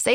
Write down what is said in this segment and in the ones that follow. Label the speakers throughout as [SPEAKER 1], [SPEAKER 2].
[SPEAKER 1] Say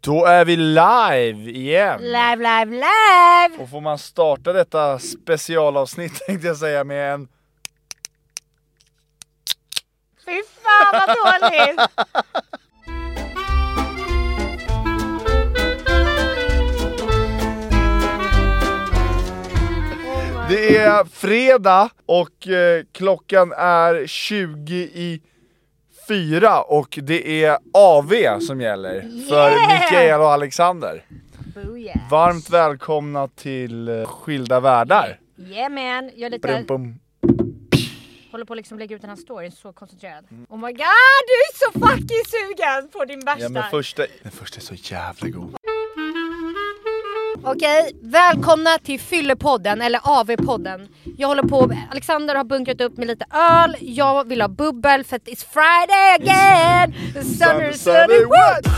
[SPEAKER 2] Då är vi live igen!
[SPEAKER 3] Live, live, live!
[SPEAKER 2] Och får man starta detta specialavsnitt tänkte jag säga med en...
[SPEAKER 3] Fy fan vad dåligt!
[SPEAKER 2] Det är fredag och eh, klockan är 20 i fyra och det är AV som gäller för
[SPEAKER 3] Yeah!
[SPEAKER 2] Mikael och Alexander.
[SPEAKER 3] Booyah.
[SPEAKER 2] Varmt välkomna till eh, Skilda Världar.
[SPEAKER 3] Yeah man, jag är lite,
[SPEAKER 2] Brum, bum.
[SPEAKER 3] håller på att liksom lägga ut den här storyn, så koncentrerad. Oh my god, du är så fucking sugen på din
[SPEAKER 2] Ja
[SPEAKER 3] värsta!
[SPEAKER 2] men första, den första är så jävla god.
[SPEAKER 3] Okej, välkomna till Fyllepodden, eller AV-podden. Jag håller på, Alexander har bunkrat upp med lite öl, jag vill ha bubbel för att it's Friday again! The sun is sunny, what?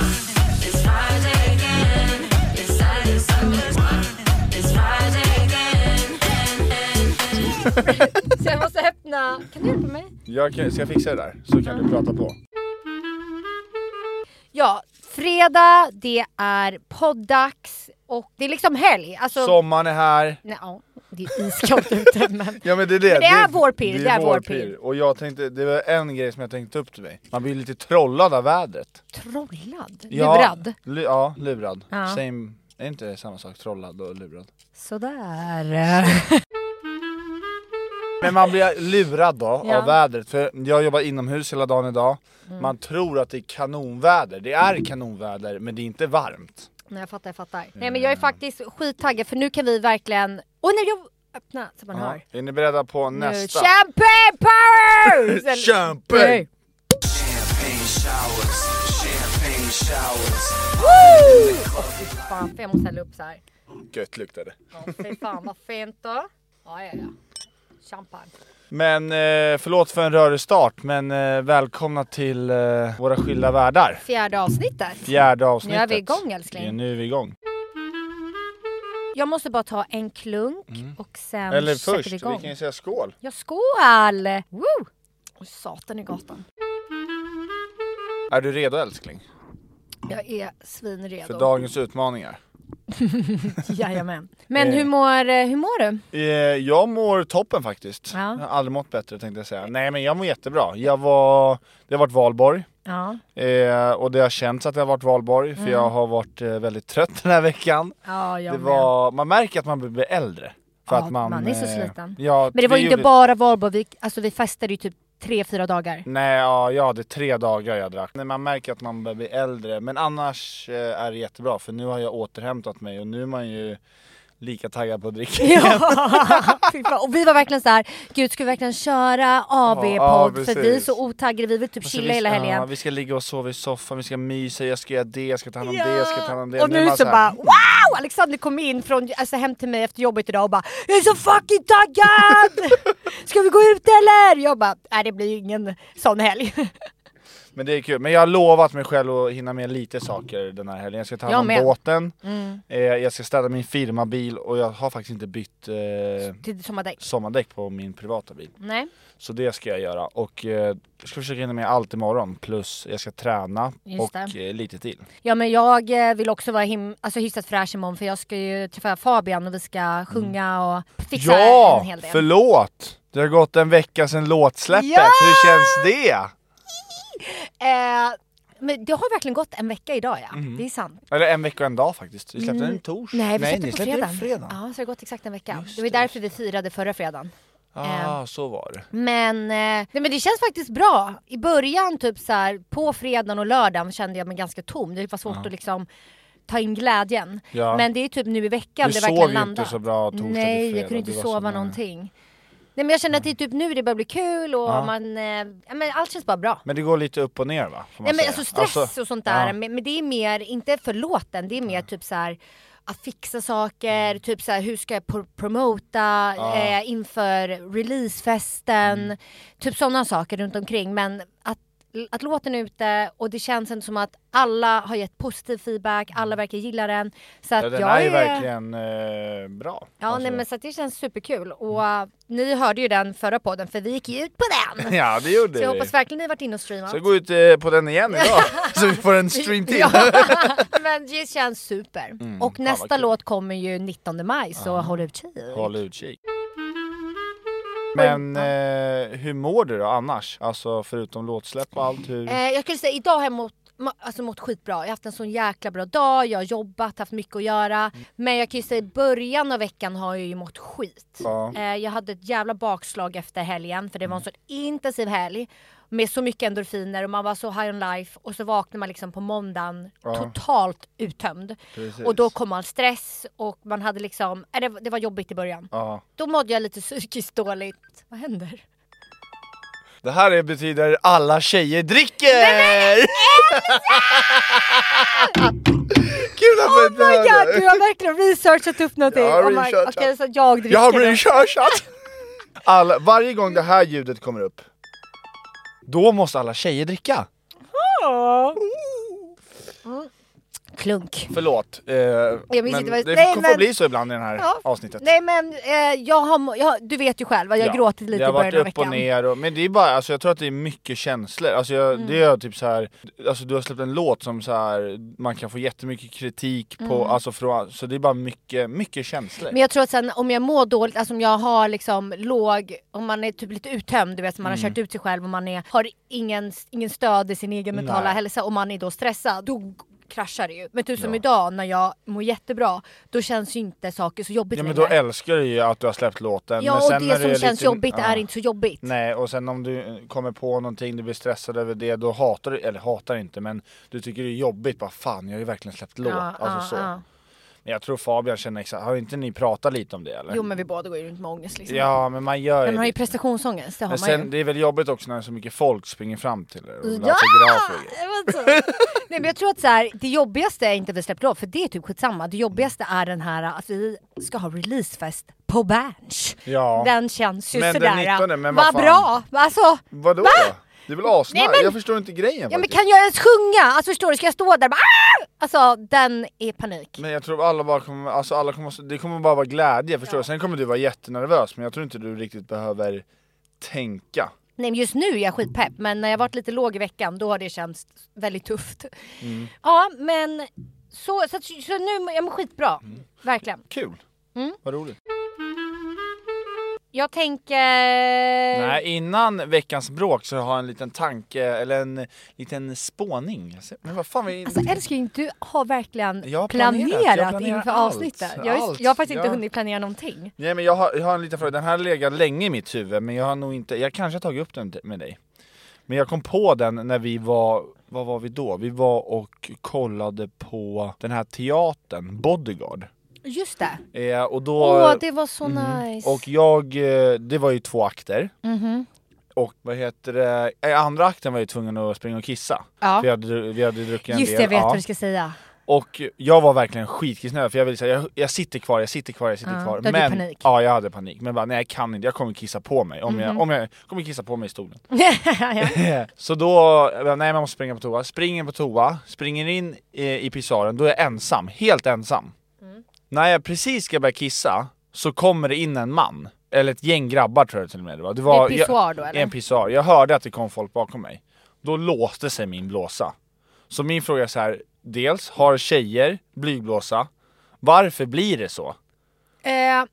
[SPEAKER 3] Så jag måste öppna, kan du hjälpa mig?
[SPEAKER 2] Jag kan, ska jag fixa det där? Så kan du prata på.
[SPEAKER 3] Ja, fredag, det är poddags och det är liksom helg. Alltså,
[SPEAKER 2] Sommaren är här.
[SPEAKER 3] Nej, ja, det är iskallt ute men...
[SPEAKER 2] Ja men det är det.
[SPEAKER 3] Men det är vår pirr, det är vår pirr.
[SPEAKER 2] Och jag tänkte, det var en grej som jag tänkte ta upp till mig. Man blir lite trollad av vädret.
[SPEAKER 3] Trollad?
[SPEAKER 2] Ja,
[SPEAKER 3] Lurad?
[SPEAKER 2] Lu, ja, lurad.
[SPEAKER 3] Ja.
[SPEAKER 2] Same, är inte det samma sak? Trollad och lurad.
[SPEAKER 3] Sådär.
[SPEAKER 2] Men man blir lurad då
[SPEAKER 3] Ja. Mm.
[SPEAKER 2] av vädret. För jag jobbar inomhus hela dagen idag. Man tror att det är kanonväder. Det är kanonväder men det är inte varmt.
[SPEAKER 3] Nej jag fattar, jag fattar. Nej men jag är faktiskt skittaggad för nu kan vi verkligen... Åh nej jag... Öppna så man hör.
[SPEAKER 2] Ja. Är ni beredda på
[SPEAKER 3] Nu,
[SPEAKER 2] nästa?
[SPEAKER 3] champagne powers! Eller-
[SPEAKER 2] Champagne!
[SPEAKER 3] Nej.
[SPEAKER 4] Champagne showers, champagne showers.
[SPEAKER 3] Åh fy fan, för jag måste hälla upp så här.
[SPEAKER 2] Gött luktade.
[SPEAKER 3] Åh fy fan vad fint då. Ja ja ja. Champagne.
[SPEAKER 2] Men eh, förlåt för en rörig start men eh, välkomna till eh, våra skilda världar.
[SPEAKER 3] Fjärde avsnittet.
[SPEAKER 2] Fjärde avsnittet.
[SPEAKER 3] Nu är vi igång, älskling.
[SPEAKER 2] Ja, nu är vi igång.
[SPEAKER 3] Jag måste bara ta en klunk och sen
[SPEAKER 2] Mm. Eller
[SPEAKER 3] sätter
[SPEAKER 2] först,
[SPEAKER 3] vi
[SPEAKER 2] vi
[SPEAKER 3] igång.
[SPEAKER 2] kan ju säga skål.
[SPEAKER 3] Ja skål! Woo! Oj, satan i gatan.
[SPEAKER 2] Är du redo älskling?
[SPEAKER 3] Jag är svinredo.
[SPEAKER 2] För dagens utmaningar.
[SPEAKER 3] Jajamän. Men
[SPEAKER 2] Eh.
[SPEAKER 3] hur mår, eh, hur mår du?
[SPEAKER 2] Eh, jag mår toppen faktiskt.
[SPEAKER 3] Ja.
[SPEAKER 2] Jag har aldrig mått bättre tänkte jag säga. Nej men jag mår jättebra. Jag var, det har varit valborg.
[SPEAKER 3] Ja.
[SPEAKER 2] Eh, och det har känts att det har varit valborg för jag har varit eh, väldigt trött den här veckan.
[SPEAKER 3] Ja, Mm. jag
[SPEAKER 2] Det
[SPEAKER 3] med.
[SPEAKER 2] var, man märker att man blir äldre. För
[SPEAKER 3] Ja,
[SPEAKER 2] att man,
[SPEAKER 3] man är så
[SPEAKER 2] eh,
[SPEAKER 3] sliten.
[SPEAKER 2] Ja,
[SPEAKER 3] Men det var ju inte
[SPEAKER 2] gjorde-
[SPEAKER 3] bara valborg, vi, alltså vi festade ju typ tre, fyra dagar.
[SPEAKER 2] Nej, ja, jag hade tre dagar jag drack. Men man märker att man börjar bli äldre. Men annars eh, är det jättebra för nu har jag återhämtat mig och nu är man ju lika taggad på att dricka igen.
[SPEAKER 3] Ja. Fy fan. och vi var verkligen så här, gud ska vi verkligen köra
[SPEAKER 2] Ja,
[SPEAKER 3] AB-podd?
[SPEAKER 2] ja,
[SPEAKER 3] för vi är
[SPEAKER 2] precis.
[SPEAKER 3] så otaggade, vi vill typ
[SPEAKER 2] Alltså,
[SPEAKER 3] chilla
[SPEAKER 2] vi-
[SPEAKER 3] hela
[SPEAKER 2] Ja,
[SPEAKER 3] helgen.
[SPEAKER 2] vi ska ligga och sova i soffan, vi ska mysa, jag ska göra det, jag ska ta hand om det, jag ska ta hand om det.
[SPEAKER 3] Och
[SPEAKER 2] är
[SPEAKER 3] nu
[SPEAKER 2] man
[SPEAKER 3] så
[SPEAKER 2] här,
[SPEAKER 3] bara wow! Alexander kom in från, alltså, hem till mig efter jobbet idag och bara Jag är så fucking taggad! Ska vi gå ut eller? Jag bara, nej det blir ju ingen sån helg.
[SPEAKER 2] Men det är kul. Men jag har lovat mig själv att hinna med lite saker den här helgen. Jag ska ta
[SPEAKER 3] Jag
[SPEAKER 2] hand
[SPEAKER 3] med. Mm.
[SPEAKER 2] om båten, eh, jag ska städa min firmabil och jag har faktiskt inte bytt eh,
[SPEAKER 3] Till sommardäck.
[SPEAKER 2] sommardäck på min privata bil.
[SPEAKER 3] Nej,
[SPEAKER 2] Så det ska jag göra och eh, jag ska försöka hinna med allt imorgon plus jag ska träna
[SPEAKER 3] Just
[SPEAKER 2] och
[SPEAKER 3] det.
[SPEAKER 2] eh, lite till.
[SPEAKER 3] Ja men jag eh, vill också vara him- alltså, hyfsat fräsch imorgon för jag ska ju träffa Fabian och vi ska sjunga och fixa en
[SPEAKER 2] Mm. ja!
[SPEAKER 3] hel del.
[SPEAKER 2] Förlåt! Det har gått en vecka sedan låtsläppet,
[SPEAKER 3] Ja!
[SPEAKER 2] hur känns det?
[SPEAKER 3] Eh, Men det har verkligen gått en vecka idag ja, det är sant.
[SPEAKER 2] Eller en vecka och en dag faktiskt. Vi släppte den tors.
[SPEAKER 3] Mm. Nej, vi
[SPEAKER 2] Mm. Nej
[SPEAKER 3] släppte
[SPEAKER 2] ni
[SPEAKER 3] på
[SPEAKER 2] släppte
[SPEAKER 3] fredagen.
[SPEAKER 2] den fredag.
[SPEAKER 3] Ja, så det har gått exakt en vecka.
[SPEAKER 2] Just
[SPEAKER 3] det var ju
[SPEAKER 2] det,
[SPEAKER 3] därför vi firade förra fredagen.
[SPEAKER 2] Ah, så var det.
[SPEAKER 3] Men, eh, nej, men det känns faktiskt bra. I början, typ så här, på fredagen och lördagen kände jag mig ganska tom. Det var svårt att liksom ta in glädjen.
[SPEAKER 2] Ja.
[SPEAKER 3] Men det är typ nu i veckan
[SPEAKER 2] Du
[SPEAKER 3] det
[SPEAKER 2] sov
[SPEAKER 3] verkligen
[SPEAKER 2] ju
[SPEAKER 3] landar.
[SPEAKER 2] inte så bra torsdag till
[SPEAKER 3] Nej, jag
[SPEAKER 2] fredag.
[SPEAKER 3] kunde inte
[SPEAKER 2] Det var
[SPEAKER 3] sova
[SPEAKER 2] så- nej.
[SPEAKER 3] någonting. Nej men jag känner att det är typ nu det börjar bli kul och
[SPEAKER 2] Ja.
[SPEAKER 3] man, eh, ja, men allt känns bara bra.
[SPEAKER 2] Men det går lite upp och ner va? Får man
[SPEAKER 3] Nej men
[SPEAKER 2] säga.
[SPEAKER 3] alltså stress
[SPEAKER 2] Alltså,
[SPEAKER 3] och sånt där,
[SPEAKER 2] ja.
[SPEAKER 3] men, men det är mer, inte för låten, det är mer typ så här att fixa saker,
[SPEAKER 2] Mm.
[SPEAKER 3] typ så här, hur ska jag pro- promota eh, inför releasefesten,
[SPEAKER 2] Mm.
[SPEAKER 3] typ sådana saker runt omkring. Men att, att låten är ute och det känns ändå som att alla har gett positiv feedback, alla verkar gilla den. Så att
[SPEAKER 2] Mm. Ja, den
[SPEAKER 3] jag
[SPEAKER 2] är ju verkligen eh, bra.
[SPEAKER 3] Ja, nej, men så att det känns superkul. Och eh, ni hörde ju den förra podden för vi gick ju ut på den.
[SPEAKER 2] Ja, det gjorde
[SPEAKER 3] Så jag
[SPEAKER 2] vi.
[SPEAKER 3] hoppas verkligen ni har varit inne och streamat.
[SPEAKER 2] Så gå ut eh, på den igen idag, så vi får en stream till.
[SPEAKER 3] Ja, men det känns super. och
[SPEAKER 2] Mm. fan
[SPEAKER 3] nästa
[SPEAKER 2] vad kul.
[SPEAKER 3] låt kommer ju 19 maj så håll utkik.
[SPEAKER 2] Håll utkik. Men eh, hur mår du då annars? Alltså förutom låtsläpp och allt, hur...
[SPEAKER 3] Eh, jag skulle säga idag har jag mått, ma- alltså, mått skitbra. Jag har haft en sån jäkla bra dag, jag har jobbat, haft mycket att göra.
[SPEAKER 2] Mm.
[SPEAKER 3] Men jag kan ju säga i början av veckan har jag ju mått skit.
[SPEAKER 2] Ja. Mm.
[SPEAKER 3] Eh, jag hade ett jävla bakslag efter helgen för det var en sån intensiv helg. Med så mycket endorfiner och man var så high on life och så vaknar man liksom på måndagen totalt uttömd.
[SPEAKER 2] Precis.
[SPEAKER 3] Och då kom all stress och man hade liksom, eh, det, det var jobbigt i början.
[SPEAKER 2] Ja.
[SPEAKER 3] Då mådde jag lite psykiskt dåligt. Oh Vad händer?
[SPEAKER 2] Det här är- betyder alla tjejer dricker! Kul att
[SPEAKER 3] Oh
[SPEAKER 2] få
[SPEAKER 3] my
[SPEAKER 2] höra
[SPEAKER 3] god,
[SPEAKER 2] det!
[SPEAKER 3] du har verkligen researchat upp någonting. Oh
[SPEAKER 2] Jag har
[SPEAKER 3] my-
[SPEAKER 2] researchat.
[SPEAKER 3] Okej, så jag dricker
[SPEAKER 2] Jag har
[SPEAKER 3] då.
[SPEAKER 2] researchat! Alla, varje gång det här ljudet kommer upp, då måste alla tjejer dricka. Mm.
[SPEAKER 3] Mm. Klunk.
[SPEAKER 2] Förlåt, eh, men
[SPEAKER 3] minns inte vad
[SPEAKER 2] det
[SPEAKER 3] jag- Nej,
[SPEAKER 2] får
[SPEAKER 3] men-
[SPEAKER 2] bli så ibland i det här
[SPEAKER 3] Ja.
[SPEAKER 2] avsnittet.
[SPEAKER 3] Nej men eh, jag har, må- jag, du vet ju själv, jag har
[SPEAKER 2] Ja,
[SPEAKER 3] gråtit lite
[SPEAKER 2] Det har
[SPEAKER 3] i början
[SPEAKER 2] varit
[SPEAKER 3] av
[SPEAKER 2] upp
[SPEAKER 3] veckan.
[SPEAKER 2] och ner, och, men det är bara, alltså jag tror att det är mycket känslor. Alltså jag,
[SPEAKER 3] Mm.
[SPEAKER 2] det är typ så här, alltså du har släppt en låt som så här, man kan få jättemycket kritik på, alltså från, så det är bara mycket, mycket känslor.
[SPEAKER 3] Mm. Men jag tror att sen om jag mår dåligt, alltså om jag har liksom låg, om man är typ lite uttömd, du vet man
[SPEAKER 2] Mm.
[SPEAKER 3] har kört ut sig själv och man är, har ingen, ingen stöd i sin egen mentala
[SPEAKER 2] Nej.
[SPEAKER 3] hälsa och man är då stressad, då kraschar det ju. Men typ som
[SPEAKER 2] Ja.
[SPEAKER 3] idag när jag mår jättebra, då känns ju inte saker så jobbigt
[SPEAKER 2] ja men då
[SPEAKER 3] längre.
[SPEAKER 2] älskar du ju att du har släppt låten.
[SPEAKER 3] Ja
[SPEAKER 2] men
[SPEAKER 3] och
[SPEAKER 2] sen när
[SPEAKER 3] det
[SPEAKER 2] du
[SPEAKER 3] som
[SPEAKER 2] är
[SPEAKER 3] känns
[SPEAKER 2] lite-
[SPEAKER 3] jobbigt
[SPEAKER 2] ja.
[SPEAKER 3] är inte så jobbigt.
[SPEAKER 2] Nej och sen om du eh, kommer på någonting, du blir stressad över det, då hatar du, eller hatar inte men du tycker det är jobbigt, bara fan jag har ju verkligen släppt låt.
[SPEAKER 3] Ja,
[SPEAKER 2] alltså
[SPEAKER 3] ja,
[SPEAKER 2] så.
[SPEAKER 3] ja.
[SPEAKER 2] Men jag tror Fabian känner exakt, har inte ni pratat lite om det eller?
[SPEAKER 3] Jo men vi båda går ju runt med ångest liksom.
[SPEAKER 2] Ja men man gör
[SPEAKER 3] Men man har ju
[SPEAKER 2] det.
[SPEAKER 3] prestationsångest, det har
[SPEAKER 2] Men
[SPEAKER 3] man ju.
[SPEAKER 2] sen, det är väl jobbigt också när så mycket folk springer fram till er och vill ha
[SPEAKER 3] Ja!
[SPEAKER 2] autografer och grejer.
[SPEAKER 3] Jag vet inte. Nej men jag tror att så här, det jobbigaste är inte att vi släppt låt, för det är typ skitsamma. Det jobbigaste är den här att vi ska ha releasefest på Berns.
[SPEAKER 2] Ja.
[SPEAKER 3] Den känns ju
[SPEAKER 2] Men den
[SPEAKER 3] sådär.
[SPEAKER 2] 19, men vad
[SPEAKER 3] vad
[SPEAKER 2] fan.
[SPEAKER 3] bra! Alltså,
[SPEAKER 2] Vadå
[SPEAKER 3] Va?
[SPEAKER 2] då? Det är väl asnice?
[SPEAKER 3] Nej, men-
[SPEAKER 2] Jag förstår inte grejen
[SPEAKER 3] ja, men
[SPEAKER 2] faktiskt.
[SPEAKER 3] kan jag ens sjunga? Alltså förstår du, ska jag stå där och bara "Ah!" Alltså den är panik.
[SPEAKER 2] Men jag tror alla bara kommer, alltså alla kommer, det kommer bara vara glädje förstår du? Sen kommer du vara jättenervös men jag tror inte du riktigt behöver tänka.
[SPEAKER 3] Nej men just nu är jag skitpepp, men när jag varit lite låg i veckan då har det känts väldigt tufft.
[SPEAKER 2] Mm.
[SPEAKER 3] Ja men så, så, att- så nu, jag mår skitbra.
[SPEAKER 2] Mm.
[SPEAKER 3] Verkligen.
[SPEAKER 2] Kul!
[SPEAKER 3] Mm.
[SPEAKER 2] Vad roligt.
[SPEAKER 3] Jag tänker...
[SPEAKER 2] Nej, innan veckans bråk så har jag en liten tanke, eller en liten spåning. Men vad fan, vi...
[SPEAKER 3] Alltså älskling, du har verkligen
[SPEAKER 2] Jag har
[SPEAKER 3] planerat,
[SPEAKER 2] planerat, jag planerar
[SPEAKER 3] inför
[SPEAKER 2] allt,
[SPEAKER 3] avsnittet. Jag, har-
[SPEAKER 2] allt,
[SPEAKER 3] jag har faktiskt inte
[SPEAKER 2] ja.
[SPEAKER 3] hunnit planera någonting.
[SPEAKER 2] Nej men jag har, jag har en liten fråga, den här har legat länge i mitt huvud men jag har nog inte, jag kanske har tagit upp den med dig Men jag kom på den när vi var, vad var vi då? Vi var och kollade på den här teatern, Bodyguard
[SPEAKER 3] Just det.
[SPEAKER 2] eh, Och då...
[SPEAKER 3] Åh, det Mhm. var så nice.
[SPEAKER 2] mm. Och jag, eh, det var ju två akter Och vad heter det, i andra akten var jag ju tvungen att springa och kissa
[SPEAKER 3] Ja.
[SPEAKER 2] För vi hade, vi hade druckit en
[SPEAKER 3] Just
[SPEAKER 2] del
[SPEAKER 3] det, jag vet
[SPEAKER 2] ja.
[SPEAKER 3] vad du ska säga.
[SPEAKER 2] Och jag var verkligen skitkissnödig för jag ville säga jag, jag sitter kvar, jag sitter kvar, jag sitter
[SPEAKER 3] Ja,
[SPEAKER 2] kvar.
[SPEAKER 3] du hade
[SPEAKER 2] men,
[SPEAKER 3] panik. Mhm.
[SPEAKER 2] Ja, jag hade panik. Men bara, nej jag kan inte, jag kommer kissa på mig. Om, jag, om jag kommer kissa på mig i stolen. så då, jag bara, nej man måste springa på toa. Springer på toa, springer in eh, i, i pisaren, då är jag ensam, helt ensam.
[SPEAKER 3] Mm.
[SPEAKER 2] När jag precis ska börja kissa så kommer det in en man. Eller ett gäng grabbar tror jag till och med det var. Det var
[SPEAKER 3] I en pissoar då, eller?
[SPEAKER 2] I En pissoar. Jag hörde att det kom folk bakom mig. Då låste sig min blåsa. Så min fråga är så här. dels har tjejer blygblåsa? Varför blir det så?
[SPEAKER 3] Eh,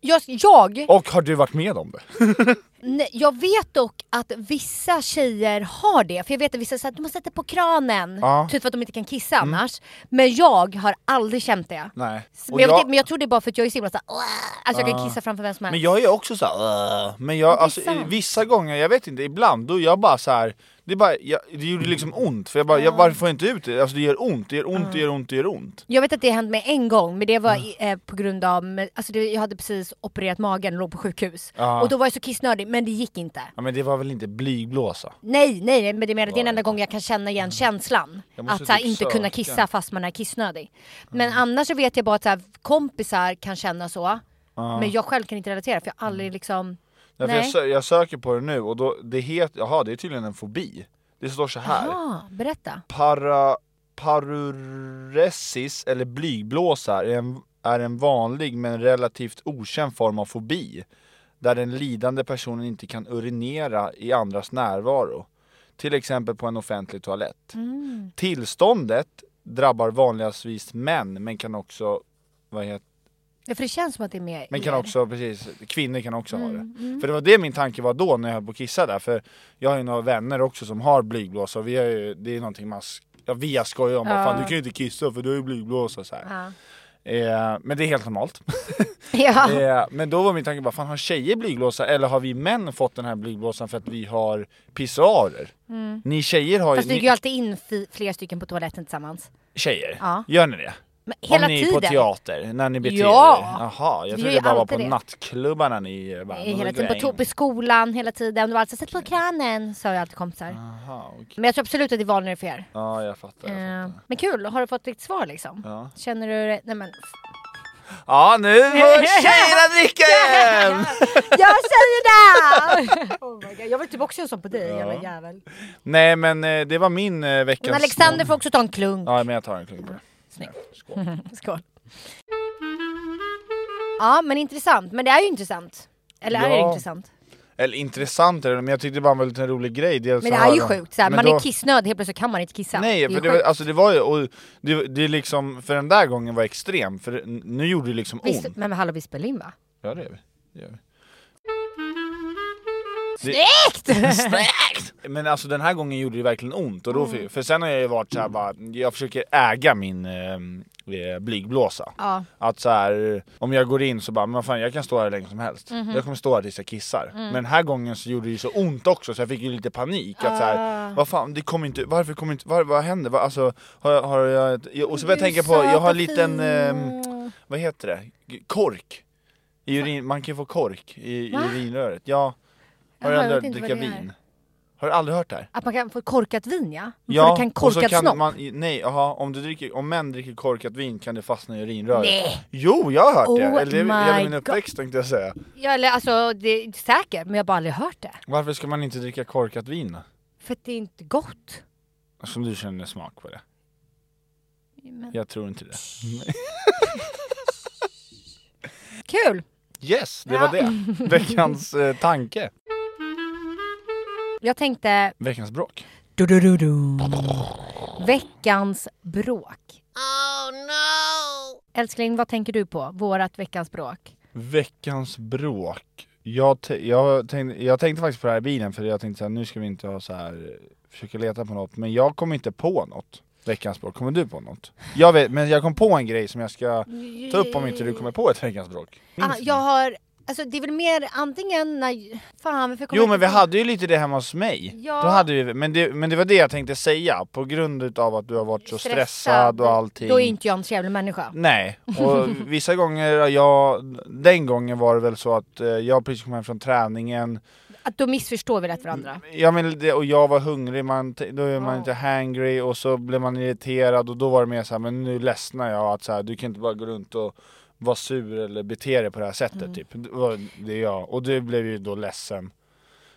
[SPEAKER 3] jag, jag,
[SPEAKER 2] Och har du varit med om det?
[SPEAKER 3] Nej, Jag vet dock att vissa tjejer har det, för jag vet att vissa säger att du måste sätta på kranen,
[SPEAKER 2] Ja. Mm.
[SPEAKER 3] typ för att de inte kan kissa annars. Men jag har aldrig känt det.
[SPEAKER 2] Nej.
[SPEAKER 3] Men jag, typ vet inte, men jag tror det är bara för att jag är så himla såhär, alltså jag kan kissa framför vem som helst.
[SPEAKER 2] Ah. Men jag är också så här, "Åh." men jag,
[SPEAKER 3] är
[SPEAKER 2] alltså,
[SPEAKER 3] sant.
[SPEAKER 2] vissa gånger, jag vet inte, ibland då är jag bara så här. Det, är bara, jag, det gjorde liksom ont, för jag bara, jag, varför får jag inte ut det? Alltså det gör ont, det gör ont, det gör ont, det gör ont.
[SPEAKER 3] Jag vet att det hände mig en gång, men det var
[SPEAKER 2] Mm.
[SPEAKER 3] i- eh, på grund av, alltså det, jag hade precis opererat magen och låg på sjukhus.
[SPEAKER 2] Ja.
[SPEAKER 3] Och då var jag så kissnödig, men det gick inte.
[SPEAKER 2] Ja men det var väl inte blygblåsa?
[SPEAKER 3] Nej, nej, nej, men det menar jag, det är den enda gången jag kan känna igen känslan.
[SPEAKER 2] Mm. Jag måste
[SPEAKER 3] Att så här,
[SPEAKER 2] typ
[SPEAKER 3] inte
[SPEAKER 2] söka. Mm.
[SPEAKER 3] kunna kissa fast man är kissnödig. Men annars så vet jag bara att så här, kompisar kan känna så. Men jag själv kan inte relatera för jag har aldrig liksom...
[SPEAKER 2] Därför Mm. jag, sö- jag söker på det nu och då, det heter, jaha det är tydligen en fobi. Det står så här.
[SPEAKER 3] Jaha, berätta.
[SPEAKER 2] Para, paruresis eller blygblåsa är en, är en vanlig men relativt okänd form av fobi där den lidande personen inte kan urinera i andras närvaro. Till exempel på en offentlig toalett. Tillståndet drabbar vanligtvis män men kan också vad heter,
[SPEAKER 3] Ja, för det känns som att det är mer
[SPEAKER 2] men kan
[SPEAKER 3] er.
[SPEAKER 2] också, precis, kvinnor kan också ha
[SPEAKER 3] Mm,
[SPEAKER 2] det. För det var det min tanke var då när jag höll på att kissa där, för jag har ju några vänner också som har blygblåsa och vi har ju, det är någonting man, sk- ja, vi har skojat om, bara, fan du kan ju inte kissa för du har ju blygblåsa så här.
[SPEAKER 3] Ja.
[SPEAKER 2] Eh, men det är helt normalt.
[SPEAKER 3] Ja.
[SPEAKER 2] eh, men då var min tanke bara, fan har tjejer blygblåsa eller har vi män fått den här blygblåsan för att vi har pissoarer? Ni tjejer har ju,
[SPEAKER 3] Mm. Fast du gick
[SPEAKER 2] ni,
[SPEAKER 3] ju alltid in fi- flera stycken på toaletten tillsammans.
[SPEAKER 2] tjejer,
[SPEAKER 3] Ja.
[SPEAKER 2] gör ni det?
[SPEAKER 3] Men hela
[SPEAKER 2] om ni
[SPEAKER 3] tiden.
[SPEAKER 2] är på teater, när ni beter
[SPEAKER 3] Ja.
[SPEAKER 2] er? Jaha, jag
[SPEAKER 3] Vi
[SPEAKER 2] trodde
[SPEAKER 3] gör
[SPEAKER 2] jag bara
[SPEAKER 3] ju
[SPEAKER 2] var på
[SPEAKER 3] alltid det.
[SPEAKER 2] nattklubbarna ni eh, bara,
[SPEAKER 3] Eh, Hela
[SPEAKER 2] "Nu
[SPEAKER 3] tiden,
[SPEAKER 2] går
[SPEAKER 3] på,
[SPEAKER 2] jag in."
[SPEAKER 3] to- på skolan hela tiden. Du var alltså sett
[SPEAKER 2] Mm.
[SPEAKER 3] på kranen, sa jag alltid kompisar.
[SPEAKER 2] Jaha, okej.
[SPEAKER 3] Men jag tror absolut att det är vanligare för er.
[SPEAKER 2] Ja, jag fattar. Jag fattar.
[SPEAKER 3] Eh, men kul, har du fått ditt svar liksom?
[SPEAKER 2] Ja.
[SPEAKER 3] Känner du dig... Nej men...
[SPEAKER 2] Ja, nu får tjejerna dricka igen!
[SPEAKER 3] jag säger det! oh my God. Jag vill typ också göra så på dig, jävla jävel.
[SPEAKER 2] Nej, men eh, det var min eh,
[SPEAKER 3] Men
[SPEAKER 2] veckans...
[SPEAKER 3] Alexander får också ta en klunk.
[SPEAKER 2] Ja, men jag tar en klunk på det.
[SPEAKER 3] Snyggt.
[SPEAKER 2] Skål.
[SPEAKER 3] Skål. Ja men intressant, men det är ju intressant. Eller är det
[SPEAKER 2] Ja.
[SPEAKER 3] intressant?
[SPEAKER 2] Eller intressant är det, men jag tyckte det var en väldigt rolig grej. Dels
[SPEAKER 3] Men
[SPEAKER 2] att
[SPEAKER 3] det är ju
[SPEAKER 2] höra-
[SPEAKER 3] sjukt, såhär,
[SPEAKER 2] Men
[SPEAKER 3] man
[SPEAKER 2] då-
[SPEAKER 3] är kissnödig helt plötsligt kan man inte kissa.
[SPEAKER 2] Nej,
[SPEAKER 3] det är
[SPEAKER 2] för
[SPEAKER 3] ju
[SPEAKER 2] det, var-
[SPEAKER 3] sjukt.
[SPEAKER 2] alltså det var ju... Och det, det är liksom, för den där gången var extrem, för n- nu gjorde det liksom
[SPEAKER 3] Visst,
[SPEAKER 2] ont.
[SPEAKER 3] men, men hallå vi spelar in va?
[SPEAKER 2] Ja, det gör vi. Det gör vi.
[SPEAKER 3] Snyggt!
[SPEAKER 2] Men alltså den här gången gjorde det verkligen ont. Och då, för, för sen har jag ju varit såhär bara, jag försöker äga min eh, blygblåsa.
[SPEAKER 3] ja.
[SPEAKER 2] Att så här, om jag går in så bara, men vad fan jag kan stå här hur länge som helst. Jag kommer stå här tills jag kissar. Men den här gången så gjorde det ju så ont också så jag fick ju lite panik. Att så här, vad fan, det kommer inte, varför kommer inte, var, vad händer? Var, alltså, har, jag- har jag, ett- och så började jag tänka på, jag har en liten, ehm, vad heter det, G- kork. I urin, man kan ju få kork i, i urinröret. Ja, har
[SPEAKER 3] Jaha,
[SPEAKER 2] jag
[SPEAKER 3] jag vet
[SPEAKER 2] aldrig
[SPEAKER 3] inte
[SPEAKER 2] dricka
[SPEAKER 3] vad det är.
[SPEAKER 2] vin? Har du aldrig hört det här?
[SPEAKER 3] Att man kan få korkat vin ja? Man
[SPEAKER 2] Ja,
[SPEAKER 3] får- kan
[SPEAKER 2] och så
[SPEAKER 3] korkat snopp?
[SPEAKER 2] man, nej, aha, om, du dricker, om män dricker korkat vin kan det fastna i urinröret.
[SPEAKER 3] Nej.
[SPEAKER 2] Jo, jag har hört det!
[SPEAKER 3] Oh
[SPEAKER 2] Eller det är
[SPEAKER 3] my
[SPEAKER 2] väl hela min
[SPEAKER 3] God.
[SPEAKER 2] uppväxt tänkte jag säga.
[SPEAKER 3] Ja eller alltså, det är säkert, men jag har bara aldrig hört det.
[SPEAKER 2] Varför ska man inte dricka korkat vin?
[SPEAKER 3] För att det är inte gott.
[SPEAKER 2] Som du känner smak på det.
[SPEAKER 3] Men-
[SPEAKER 2] Jag tror inte det.
[SPEAKER 3] Kul!
[SPEAKER 2] Yes, det var
[SPEAKER 3] Ja.
[SPEAKER 2] det. Veckans eh, tanke.
[SPEAKER 3] Jag tänkte,
[SPEAKER 2] Veckans bråk.
[SPEAKER 3] veckans bråk. Oh no! Älskling, vad tänker du på? Vårat veckans bråk.
[SPEAKER 2] Veckans bråk. Jag, t- jag, tänkte, jag tänkte faktiskt på det här i bilen för jag tänkte så här, nu ska vi inte ha så här försöka leta på något, men jag kom inte på något. Veckans bråk, kommer du på något? Jag vet, men jag kom på en grej som jag ska ta upp om inte du kommer på ett veckans bråk.
[SPEAKER 3] Ah, jag har, alltså det är väl mer antingen när, fan varför kommer
[SPEAKER 2] Jo
[SPEAKER 3] jag
[SPEAKER 2] men vi
[SPEAKER 3] inte på-
[SPEAKER 2] hade ju lite det hemma hos mig.
[SPEAKER 3] Ja.
[SPEAKER 2] Då hade vi, men, det, men det var det jag tänkte säga, på grund utav att du har varit så stressad, och allting.
[SPEAKER 3] Då är inte jag en trevlig människa.
[SPEAKER 2] Nej, och vissa gånger, har jag, den gången var det väl så att eh, jag precis kom hem från träningen,
[SPEAKER 3] Att då missförstår vi rätt varandra.
[SPEAKER 2] ja, men det, och jag var hungrig, man, t- då är man inte hangry och så blev man irriterad och då var det mer såhär, men nu ledsnar jag att så här, du kan inte bara gå runt och vara sur eller bete dig på det här sättet
[SPEAKER 3] Mm.
[SPEAKER 2] typ. Det var det jag, och du blev ju då ledsen.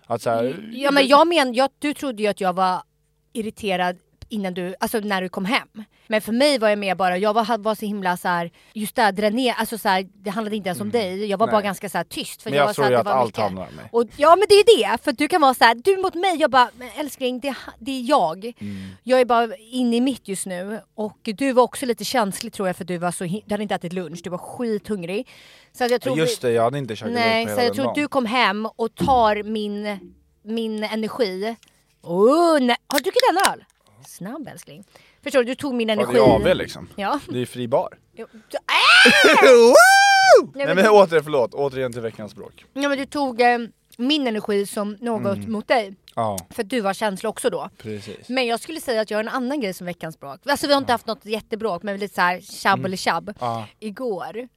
[SPEAKER 2] Att så här,
[SPEAKER 3] Ja men jag men, jag, du trodde ju att jag var irriterad innan du, alltså när du kom hem. Men för mig var jag mer bara, jag var, var så himla så här, just det här, dräner, alltså så här, det handlade inte ens om dig. Jag var
[SPEAKER 2] Mm. Nej.
[SPEAKER 3] bara ganska så här tyst. För
[SPEAKER 2] Men jag
[SPEAKER 3] var
[SPEAKER 2] tror
[SPEAKER 3] så
[SPEAKER 2] ju
[SPEAKER 3] här,
[SPEAKER 2] att
[SPEAKER 3] det var
[SPEAKER 2] allt
[SPEAKER 3] mycket.
[SPEAKER 2] handlar om mig.
[SPEAKER 3] Och, ja men det är ju det, för du kan vara så här, du mot mig, jag bara, men älskling det, är ha- det är jag.
[SPEAKER 2] Mm.
[SPEAKER 3] Jag är bara inne i mitt just nu och du var också lite känslig tror jag för du var så, hi- du hade inte ätit lunch, du var skithungrig. Så att jag tror
[SPEAKER 2] Just
[SPEAKER 3] vi-
[SPEAKER 2] det, jag hade inte käkat
[SPEAKER 3] Nej,
[SPEAKER 2] lunch
[SPEAKER 3] så
[SPEAKER 2] på hela
[SPEAKER 3] jag tror att
[SPEAKER 2] dagen.
[SPEAKER 3] du kom hem och tar min, min energi. Oh, nej. Har du druckit en öl? Snabb älskling. Förstår du, du tog min
[SPEAKER 2] Ja,
[SPEAKER 3] energi.
[SPEAKER 2] det är AW liksom.
[SPEAKER 3] Ja.
[SPEAKER 2] Det är fri bar.
[SPEAKER 3] Jo, du- äh!
[SPEAKER 2] Woo!
[SPEAKER 3] Nej,
[SPEAKER 2] Nej
[SPEAKER 3] men-
[SPEAKER 2] men åter, förlåt, återigen till veckans bråk.
[SPEAKER 3] Ja men du tog eh, min energi som något
[SPEAKER 2] Mm.
[SPEAKER 3] mot dig.
[SPEAKER 2] Ja,
[SPEAKER 3] För att du var känslig också då.
[SPEAKER 2] precis.
[SPEAKER 3] Men jag skulle säga att jag har en annan grej som veckans bråk. Alltså vi har inte haft något jättebråk men lite så här tjabb eller tjabb.
[SPEAKER 2] Mm. Ja.
[SPEAKER 3] Igår.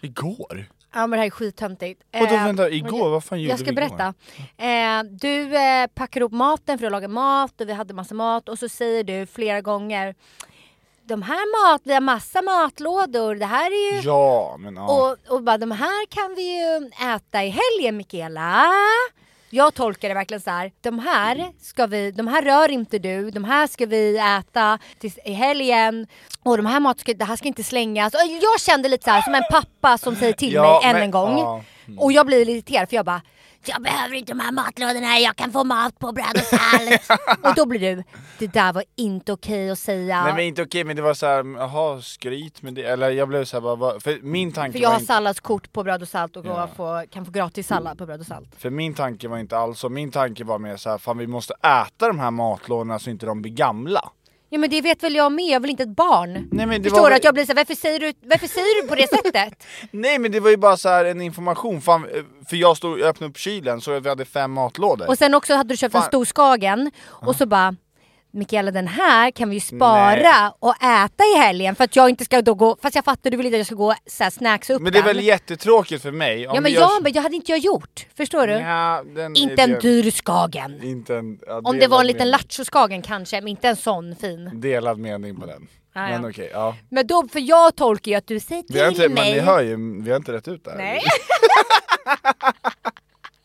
[SPEAKER 2] Igår?
[SPEAKER 3] Ja men det här är skittöntigt.
[SPEAKER 2] Vadå,
[SPEAKER 3] Eh,
[SPEAKER 2] vänta, igår? Vad fan gjorde
[SPEAKER 3] Jag ska
[SPEAKER 2] vi igår?
[SPEAKER 3] berätta. Eh, du eh, packar upp maten för att laga mat och vi hade massa mat och så säger du flera gånger De här mat, vi har massa matlådor, det här är ju
[SPEAKER 2] Ja, men ja.
[SPEAKER 3] Och, och bara de här kan vi ju äta i helgen Mikaela. Jag tolkar det verkligen så här. De här, ska vi, de här rör inte du, de här ska vi äta tills, i helgen. Och de här mat ska, det här ska inte slängas. Och jag kände lite så här som en pappa som säger till
[SPEAKER 2] Ja,
[SPEAKER 3] mig än
[SPEAKER 2] men-
[SPEAKER 3] en gång. Mm.
[SPEAKER 2] ja.
[SPEAKER 3] Och jag blir lite irriterad för jag bara jag behöver inte de här matlådorna, jag kan få mat på bröd och sallad. och då blir du, det där var inte okej att säga.
[SPEAKER 2] Nej men inte okej, men det var såhär, jaha skryt med det, eller jag blev såhär bara, vad- för min tanke
[SPEAKER 3] för jag
[SPEAKER 2] var
[SPEAKER 3] har
[SPEAKER 2] inte,
[SPEAKER 3] salladskort på bröd och salt och
[SPEAKER 2] Ja.
[SPEAKER 3] får, kan få gratis sallad på bröd och salt.
[SPEAKER 2] för min tanke var inte alls så, min tanke var mer såhär, fan vi måste äta de här matlådorna så inte de blir gamla.
[SPEAKER 3] Ja men det vet väl jag med, jag är väl inte ett barn?
[SPEAKER 2] Nej, men det
[SPEAKER 3] Förstår
[SPEAKER 2] var
[SPEAKER 3] du
[SPEAKER 2] väl-
[SPEAKER 3] att jag blir såhär, varför säger du, varför säger du på det sättet?
[SPEAKER 2] Nej men det var ju bara så här en information, fan, eh, för jag stod jag öppnade upp kylen så vi hade fem matlådor.
[SPEAKER 3] Och sen också hade du köpt en
[SPEAKER 2] Fan.
[SPEAKER 3] stor skagen och så bara Mikaela den här kan vi ju spara
[SPEAKER 2] Nej.
[SPEAKER 3] och äta i helgen för att jag inte ska då gå, fast jag fattar du vill inte att jag ska gå såhär snacks upp
[SPEAKER 2] men det är
[SPEAKER 3] den.
[SPEAKER 2] väl jättetråkigt för mig. om
[SPEAKER 3] Ja men
[SPEAKER 2] vi gör så-
[SPEAKER 3] jag, men jag hade inte jag gjort, förstår du?
[SPEAKER 2] Nja, den
[SPEAKER 3] inte en
[SPEAKER 2] idén-
[SPEAKER 3] dyr skagen.
[SPEAKER 2] Inte en, ja,
[SPEAKER 3] Om det var en
[SPEAKER 2] delad
[SPEAKER 3] liten
[SPEAKER 2] mening.
[SPEAKER 3] lattjo-skagen kanske, men inte en sån fin.
[SPEAKER 2] Delad mening på den.
[SPEAKER 3] Ja, ja.
[SPEAKER 2] Men okej, ja.
[SPEAKER 3] Men då, för jag tolkar ju att du säger till
[SPEAKER 2] Vi har inte, men
[SPEAKER 3] mig
[SPEAKER 2] ni hör ju, vi har inte rätt ut det här.
[SPEAKER 3] Nej.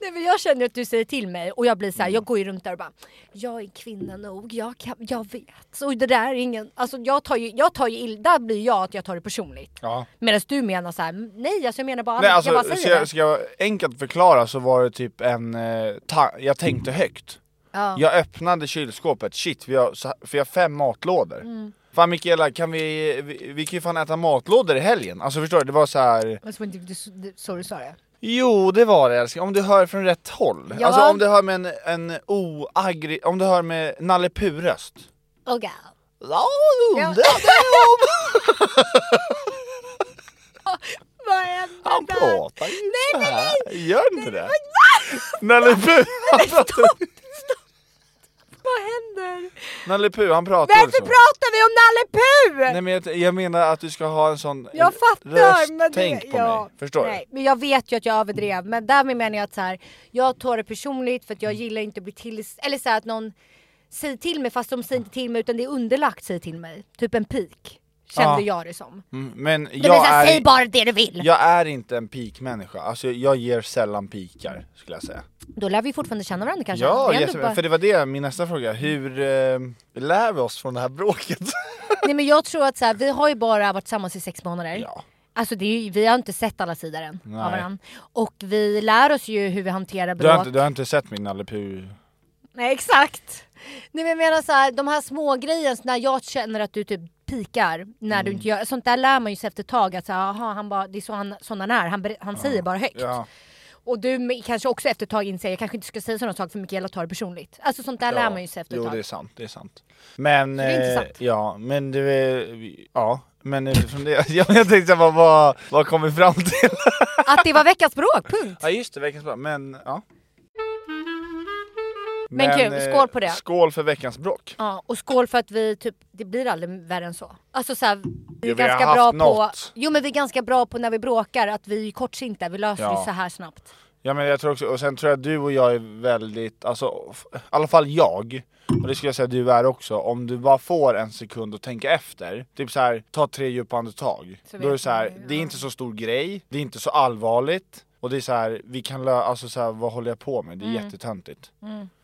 [SPEAKER 3] Nej men jag känner att du säger till mig och jag blir
[SPEAKER 2] Mm.
[SPEAKER 3] så här, jag går ju runt där och bara Jag är kvinna nog, jag, kan, jag vet. Så det där är ingen, alltså jag tar ju, jag tar ju ill, där blir jag att jag tar det personligt.
[SPEAKER 2] Ja.
[SPEAKER 3] Medan du menar så här, nej alltså jag menar bara,
[SPEAKER 2] Nej, alltså,
[SPEAKER 3] jag bara
[SPEAKER 2] ska,
[SPEAKER 3] säger
[SPEAKER 2] jag, ska jag enkelt förklara så var det typ en, eh, ta- jag tänkte högt.
[SPEAKER 3] Ja.
[SPEAKER 2] Jag öppnade kylskåpet, shit, vi har, så- för jag har fem matlådor.
[SPEAKER 3] Mm.
[SPEAKER 2] Fan Mikaela, kan vi, vi, vi kan ju fan äta matlådor i helgen. Alltså förstår du, det var så här.
[SPEAKER 3] det. Som inte- det- det- Så Alltså, du sa det?
[SPEAKER 2] Jo det var det älskling, om du hör från rätt håll.
[SPEAKER 3] Ja.
[SPEAKER 2] Alltså om du hör med en, en oaggri, om du hör med Nalle Puh-röst.
[SPEAKER 3] Oh god.
[SPEAKER 2] Ja,
[SPEAKER 3] Ja.
[SPEAKER 2] det
[SPEAKER 3] Vad hände
[SPEAKER 2] Han
[SPEAKER 3] där?
[SPEAKER 2] pratar ju
[SPEAKER 3] Nej,
[SPEAKER 2] så
[SPEAKER 3] nej,
[SPEAKER 2] här. Gör inte det? Nalle Puh, han pratar,
[SPEAKER 3] Vad händer?
[SPEAKER 2] Nalle Puh, han pratar
[SPEAKER 3] Varför
[SPEAKER 2] så.
[SPEAKER 3] pratar vi om Nalle Puh?
[SPEAKER 2] Nej men jag, jag menar att du ska ha en sån
[SPEAKER 3] Jag fattar! Men
[SPEAKER 2] rösttänk
[SPEAKER 3] det,
[SPEAKER 2] på
[SPEAKER 3] ja.
[SPEAKER 2] mig, förstår
[SPEAKER 3] Nej, Men jag vet ju att jag överdrev, men därmed menar jag att så här, jag tar det personligt för att
[SPEAKER 2] Mm.
[SPEAKER 3] jag gillar inte att bli till... Eller så här, att någon säger till mig fast de säger inte till mig utan det är underlagt säger till mig. Typ en pik,
[SPEAKER 2] Ja.
[SPEAKER 3] kände jag det som.
[SPEAKER 2] du? Mm, Men
[SPEAKER 3] Jag men
[SPEAKER 2] jag
[SPEAKER 3] så här, säg
[SPEAKER 2] är,
[SPEAKER 3] bara det du vill!
[SPEAKER 2] jag är inte en peak-människa, alltså jag ger sällan pikar skulle jag säga
[SPEAKER 3] Då lär vi fortfarande känna varandra kanske.
[SPEAKER 2] Ja,
[SPEAKER 3] Det Alltså, är ändå
[SPEAKER 2] jätte-
[SPEAKER 3] bara-
[SPEAKER 2] för det var det min nästa fråga, hur eh, lär vi oss från det här bråket?
[SPEAKER 3] Nej men jag tror att så här, vi har ju bara varit tillsammans i sex månader.
[SPEAKER 2] Ja.
[SPEAKER 3] Alltså det är ju, vi har inte sett alla sidor än
[SPEAKER 2] Nej.
[SPEAKER 3] av varandra. Och vi lär oss ju hur vi hanterar
[SPEAKER 2] Du har,
[SPEAKER 3] bråk.
[SPEAKER 2] inte, du har inte sett min Nalle Puh?
[SPEAKER 3] Nej exakt. Nej men jag menar så här, de här små grejerna när jag känner att du typ pikar när
[SPEAKER 2] Mm.
[SPEAKER 3] du inte gör, sånt där lär man ju sig efter ett tag att så här, aha, han bara, det är så han, sån han är, han, ber- han säger bara högt.
[SPEAKER 2] Ja.
[SPEAKER 3] Och du med- kanske också efter ett tag inser jag kanske inte ska säga sådana saker för Mikaela tar det personligt. Alltså sånt där lär man ju sig efter ett
[SPEAKER 2] Jo
[SPEAKER 3] tag.
[SPEAKER 2] det är sant, det är sant. Men,
[SPEAKER 3] det är
[SPEAKER 2] eh,
[SPEAKER 3] intressant.
[SPEAKER 2] ja, men du, eh, ja, men utifrån det, jag tänkte så här, vad, vad, vad kom vi fram till?
[SPEAKER 3] Att det var veckans bråk, punkt!
[SPEAKER 2] Ja just det, veckans bråk, men ja.
[SPEAKER 3] Men kul,
[SPEAKER 2] eh,
[SPEAKER 3] skål på det.
[SPEAKER 2] Skål för veckans bråk.
[SPEAKER 3] Ja, och skål för att vi typ, det blir aldrig värre än så. Alltså så här,
[SPEAKER 2] Ja, vi
[SPEAKER 3] vi är
[SPEAKER 2] har
[SPEAKER 3] ganska
[SPEAKER 2] haft
[SPEAKER 3] bra på,
[SPEAKER 2] något.
[SPEAKER 3] jo men vi är ganska bra på när vi bråkar att vi är kortsinta, vi löser
[SPEAKER 2] Ja.
[SPEAKER 3] det så här snabbt.
[SPEAKER 2] Ja men jag tror också, och sen tror jag att du och jag är väldigt, alltså f- i alla fall jag, och det skulle jag säga att du är också, om du bara får en sekund att tänka efter, typ så här, ta tre djupa andetag.
[SPEAKER 3] Så
[SPEAKER 2] då är det
[SPEAKER 3] vet
[SPEAKER 2] så
[SPEAKER 3] man
[SPEAKER 2] här,
[SPEAKER 3] ju,
[SPEAKER 2] det är
[SPEAKER 3] ja.
[SPEAKER 2] inte så stor grej, det är inte
[SPEAKER 3] Mm.
[SPEAKER 2] så allvarligt, och det är så här, vi kan lö- alltså så här, vad håller jag på med? Det är jättetöntigt.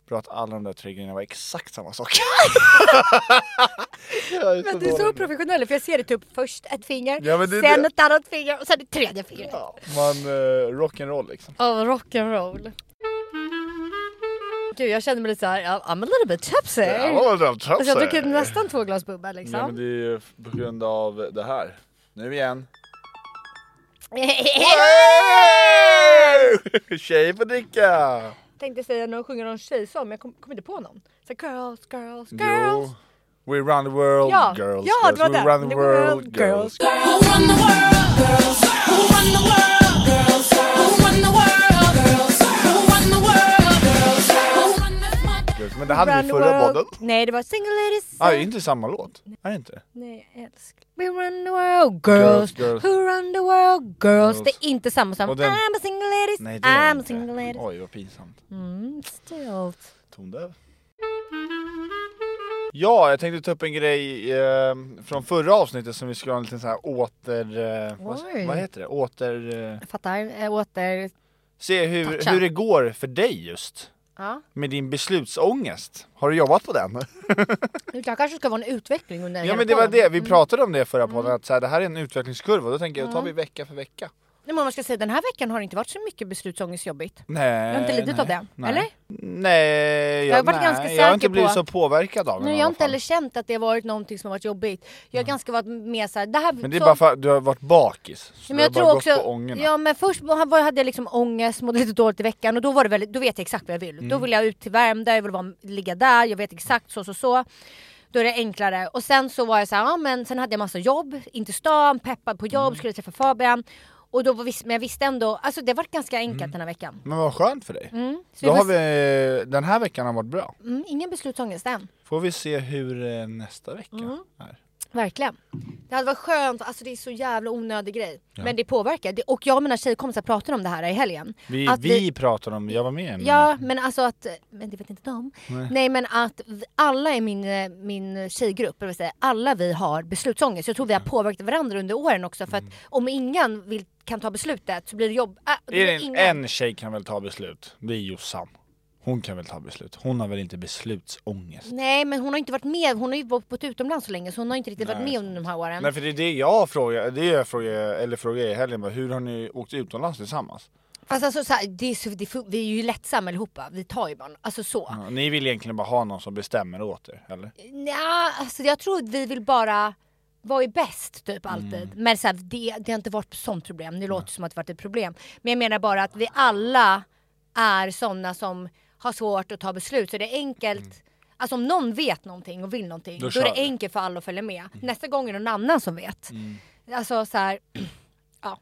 [SPEAKER 2] Bra att alla de där tre grejerna var exakt samma sak.
[SPEAKER 3] Men du är så professionell för jag ser det typ först ett finger,
[SPEAKER 2] Ja, men det är
[SPEAKER 3] sen
[SPEAKER 2] det.
[SPEAKER 3] ett annat finger och sen ett tredje finger. Ja,
[SPEAKER 2] Ja, man eh, rock'n'roll liksom.
[SPEAKER 3] rock'n'roll. Gud jag känner mig lite såhär, I'm I'm a little bit tipsy.
[SPEAKER 2] Ja, vad var det för
[SPEAKER 3] Alltså jag
[SPEAKER 2] tafsar?
[SPEAKER 3] druckit nästan två glas bubbel liksom.
[SPEAKER 2] Ja men det är ju på grund av det här. Nu igen. Tjejer får dricka!
[SPEAKER 3] Tänkte säga någon sjunger någon tjejsång men jag kom, kom inte på någon. Så här, girls, girls,
[SPEAKER 2] Jo.
[SPEAKER 3] girls.
[SPEAKER 2] We run the world,
[SPEAKER 3] Ja,
[SPEAKER 2] girls,
[SPEAKER 3] ja, det
[SPEAKER 2] girls.
[SPEAKER 3] var
[SPEAKER 2] We
[SPEAKER 3] den.
[SPEAKER 2] run the world, girls.
[SPEAKER 5] Who run the world, girls? Who run the world, girls? Who run the world, girls? Who run the world, girls? Who run this mother?
[SPEAKER 2] girls. Men det hade vi
[SPEAKER 3] Run the
[SPEAKER 2] förra
[SPEAKER 3] world.
[SPEAKER 2] podden.
[SPEAKER 3] Nej det var single ladies.
[SPEAKER 2] Ah, är inte samma låt? Är det inte?
[SPEAKER 3] Nej älskling. We run the world girls.
[SPEAKER 2] Girls, girls.
[SPEAKER 3] Who run the world girls.
[SPEAKER 2] Girls.
[SPEAKER 3] Det är inte samma som
[SPEAKER 2] Och den-
[SPEAKER 3] I'm a single ladies.
[SPEAKER 2] Nej det är
[SPEAKER 3] I'm
[SPEAKER 2] det
[SPEAKER 3] a single
[SPEAKER 2] inte.
[SPEAKER 3] ladies.
[SPEAKER 2] Oj vad pinsamt.
[SPEAKER 3] Mm, stilt.
[SPEAKER 2] Tondöv. Ja, jag tänkte ta upp en grej eh, från förra avsnittet som vi skulle ha en liten sån här åter... Eh,
[SPEAKER 3] Oj.
[SPEAKER 2] vad, vad heter det? Åter... Eh,
[SPEAKER 3] Jag fattar. Eh, åter.
[SPEAKER 2] se hur,
[SPEAKER 3] Toucha.
[SPEAKER 2] hur det går för dig just.
[SPEAKER 3] Ja.
[SPEAKER 2] Med din beslutsångest. Har du jobbat på den?
[SPEAKER 3] Det där kanske ska vara en utveckling under
[SPEAKER 2] Ja
[SPEAKER 3] hela
[SPEAKER 2] men det var
[SPEAKER 3] podden.
[SPEAKER 2] det, vi pratade om det i förra
[SPEAKER 3] Mm.
[SPEAKER 2] podden, att så här, det här är en utvecklingskurva, då tänker jag, då tar vi vecka för vecka.
[SPEAKER 3] Nej, men man ska säga, den här veckan har det inte varit så mycket beslutsångest jobbigt.
[SPEAKER 2] Nej.
[SPEAKER 3] Jag har inte lidit av det,
[SPEAKER 2] Eh, nej.
[SPEAKER 3] eller?
[SPEAKER 2] Nej,
[SPEAKER 3] Jag har varit
[SPEAKER 2] nej,
[SPEAKER 3] ganska
[SPEAKER 2] jag har inte
[SPEAKER 3] säker
[SPEAKER 2] blivit
[SPEAKER 3] på-
[SPEAKER 2] så påverkad av den
[SPEAKER 3] Nej,
[SPEAKER 2] i
[SPEAKER 3] jag har
[SPEAKER 2] alla
[SPEAKER 3] inte
[SPEAKER 2] fall. Mm.
[SPEAKER 3] heller känt att det har varit någonting som har varit jobbigt. Jag har ganska varit mer såhär, det här...
[SPEAKER 2] Men det är
[SPEAKER 3] så-
[SPEAKER 2] bara för att du har varit bakis, så
[SPEAKER 3] Men
[SPEAKER 2] du har
[SPEAKER 3] jag
[SPEAKER 2] bara
[SPEAKER 3] tror
[SPEAKER 2] gått
[SPEAKER 3] också,
[SPEAKER 2] på ångorna.
[SPEAKER 3] ja men först var- var- hade jag liksom ångest, mådde lite dåligt i veckan och då var det väldigt, då vet jag exakt vad jag vill.
[SPEAKER 2] Mm.
[SPEAKER 3] Då vill jag ut till Värmdö, jag vill vara, ligga där, jag vet exakt så så så. Då är det enklare. Och sen så var jag så här, ja men sen hade jag massa jobb, inte stan, peppad på
[SPEAKER 2] Mm.
[SPEAKER 3] jobb, skulle träffa Fabian. Och då var, vis- men jag visste ändå, alltså det har varit ganska enkelt
[SPEAKER 2] Mm.
[SPEAKER 3] den här veckan.
[SPEAKER 2] Men vad skönt för dig.
[SPEAKER 3] Mm. Så
[SPEAKER 2] Då
[SPEAKER 3] vi
[SPEAKER 2] har
[SPEAKER 3] får,
[SPEAKER 2] vi, den här veckan har varit bra.
[SPEAKER 3] mm, ingen beslutsångest än.
[SPEAKER 2] Får vi se hur eh, nästa vecka
[SPEAKER 3] Mm.
[SPEAKER 2] är.
[SPEAKER 3] Verkligen. Det hade varit skönt, alltså det är så jävla onödig grej. Men det påverkar. Det- Och jag och mina tjejkompisar pratade om det här i helgen.
[SPEAKER 2] Vi,
[SPEAKER 3] Att
[SPEAKER 2] vi, pratade om, jag var med men-
[SPEAKER 3] Ja men alltså att, men det vet inte de.
[SPEAKER 2] Mm. Nej.
[SPEAKER 3] Nej, men att vi- alla i min, eh, min tjejgrupp, det vill säga, alla vi har beslutsångest. Jag tror vi har påverkat varandra under åren också
[SPEAKER 2] Mm.
[SPEAKER 3] för att om ingen vill, kan ta beslutet så blir det jobb. Äh, då
[SPEAKER 2] Är
[SPEAKER 3] blir
[SPEAKER 2] det
[SPEAKER 3] det
[SPEAKER 2] en,
[SPEAKER 3] ingen.
[SPEAKER 2] en tjej kan väl ta beslut, det är Jossan. Hon kan väl ta beslut, hon har väl inte beslutsångest?
[SPEAKER 3] Nej men hon har inte varit med, hon har ju bott utomlands så länge så hon har inte riktigt varit
[SPEAKER 2] Nej,
[SPEAKER 3] med under de här åren.
[SPEAKER 2] Nej för det är det jag frågar, det jag frågar, eller frågar i helgen bara, hur har ni åkt utomlands tillsammans?
[SPEAKER 3] Fast alltså så här, det är så, det, är fu- vi är ju lättsamma allihopa, vi tar ju barn. Alltså så.
[SPEAKER 2] Ja, ni vill egentligen bara ha någon som bestämmer åt er, eller?
[SPEAKER 3] Nja, alltså jag tror att vi vill bara vad är bäst typ alltid.
[SPEAKER 2] Mm.
[SPEAKER 3] Men så här, det, det har inte varit ett sånt problem. Det låter som att det varit ett problem. Men jag menar bara att vi alla är sådana som har svårt att ta beslut. Så det är enkelt. Alltså om någon vet någonting och vill någonting.
[SPEAKER 2] Mm. Då
[SPEAKER 3] Då,
[SPEAKER 2] kör
[SPEAKER 3] är det
[SPEAKER 2] vi. Mm.
[SPEAKER 3] enkelt för alla att följa med. Nästa gång är det någon annan som vet. Alltså så här. Ja.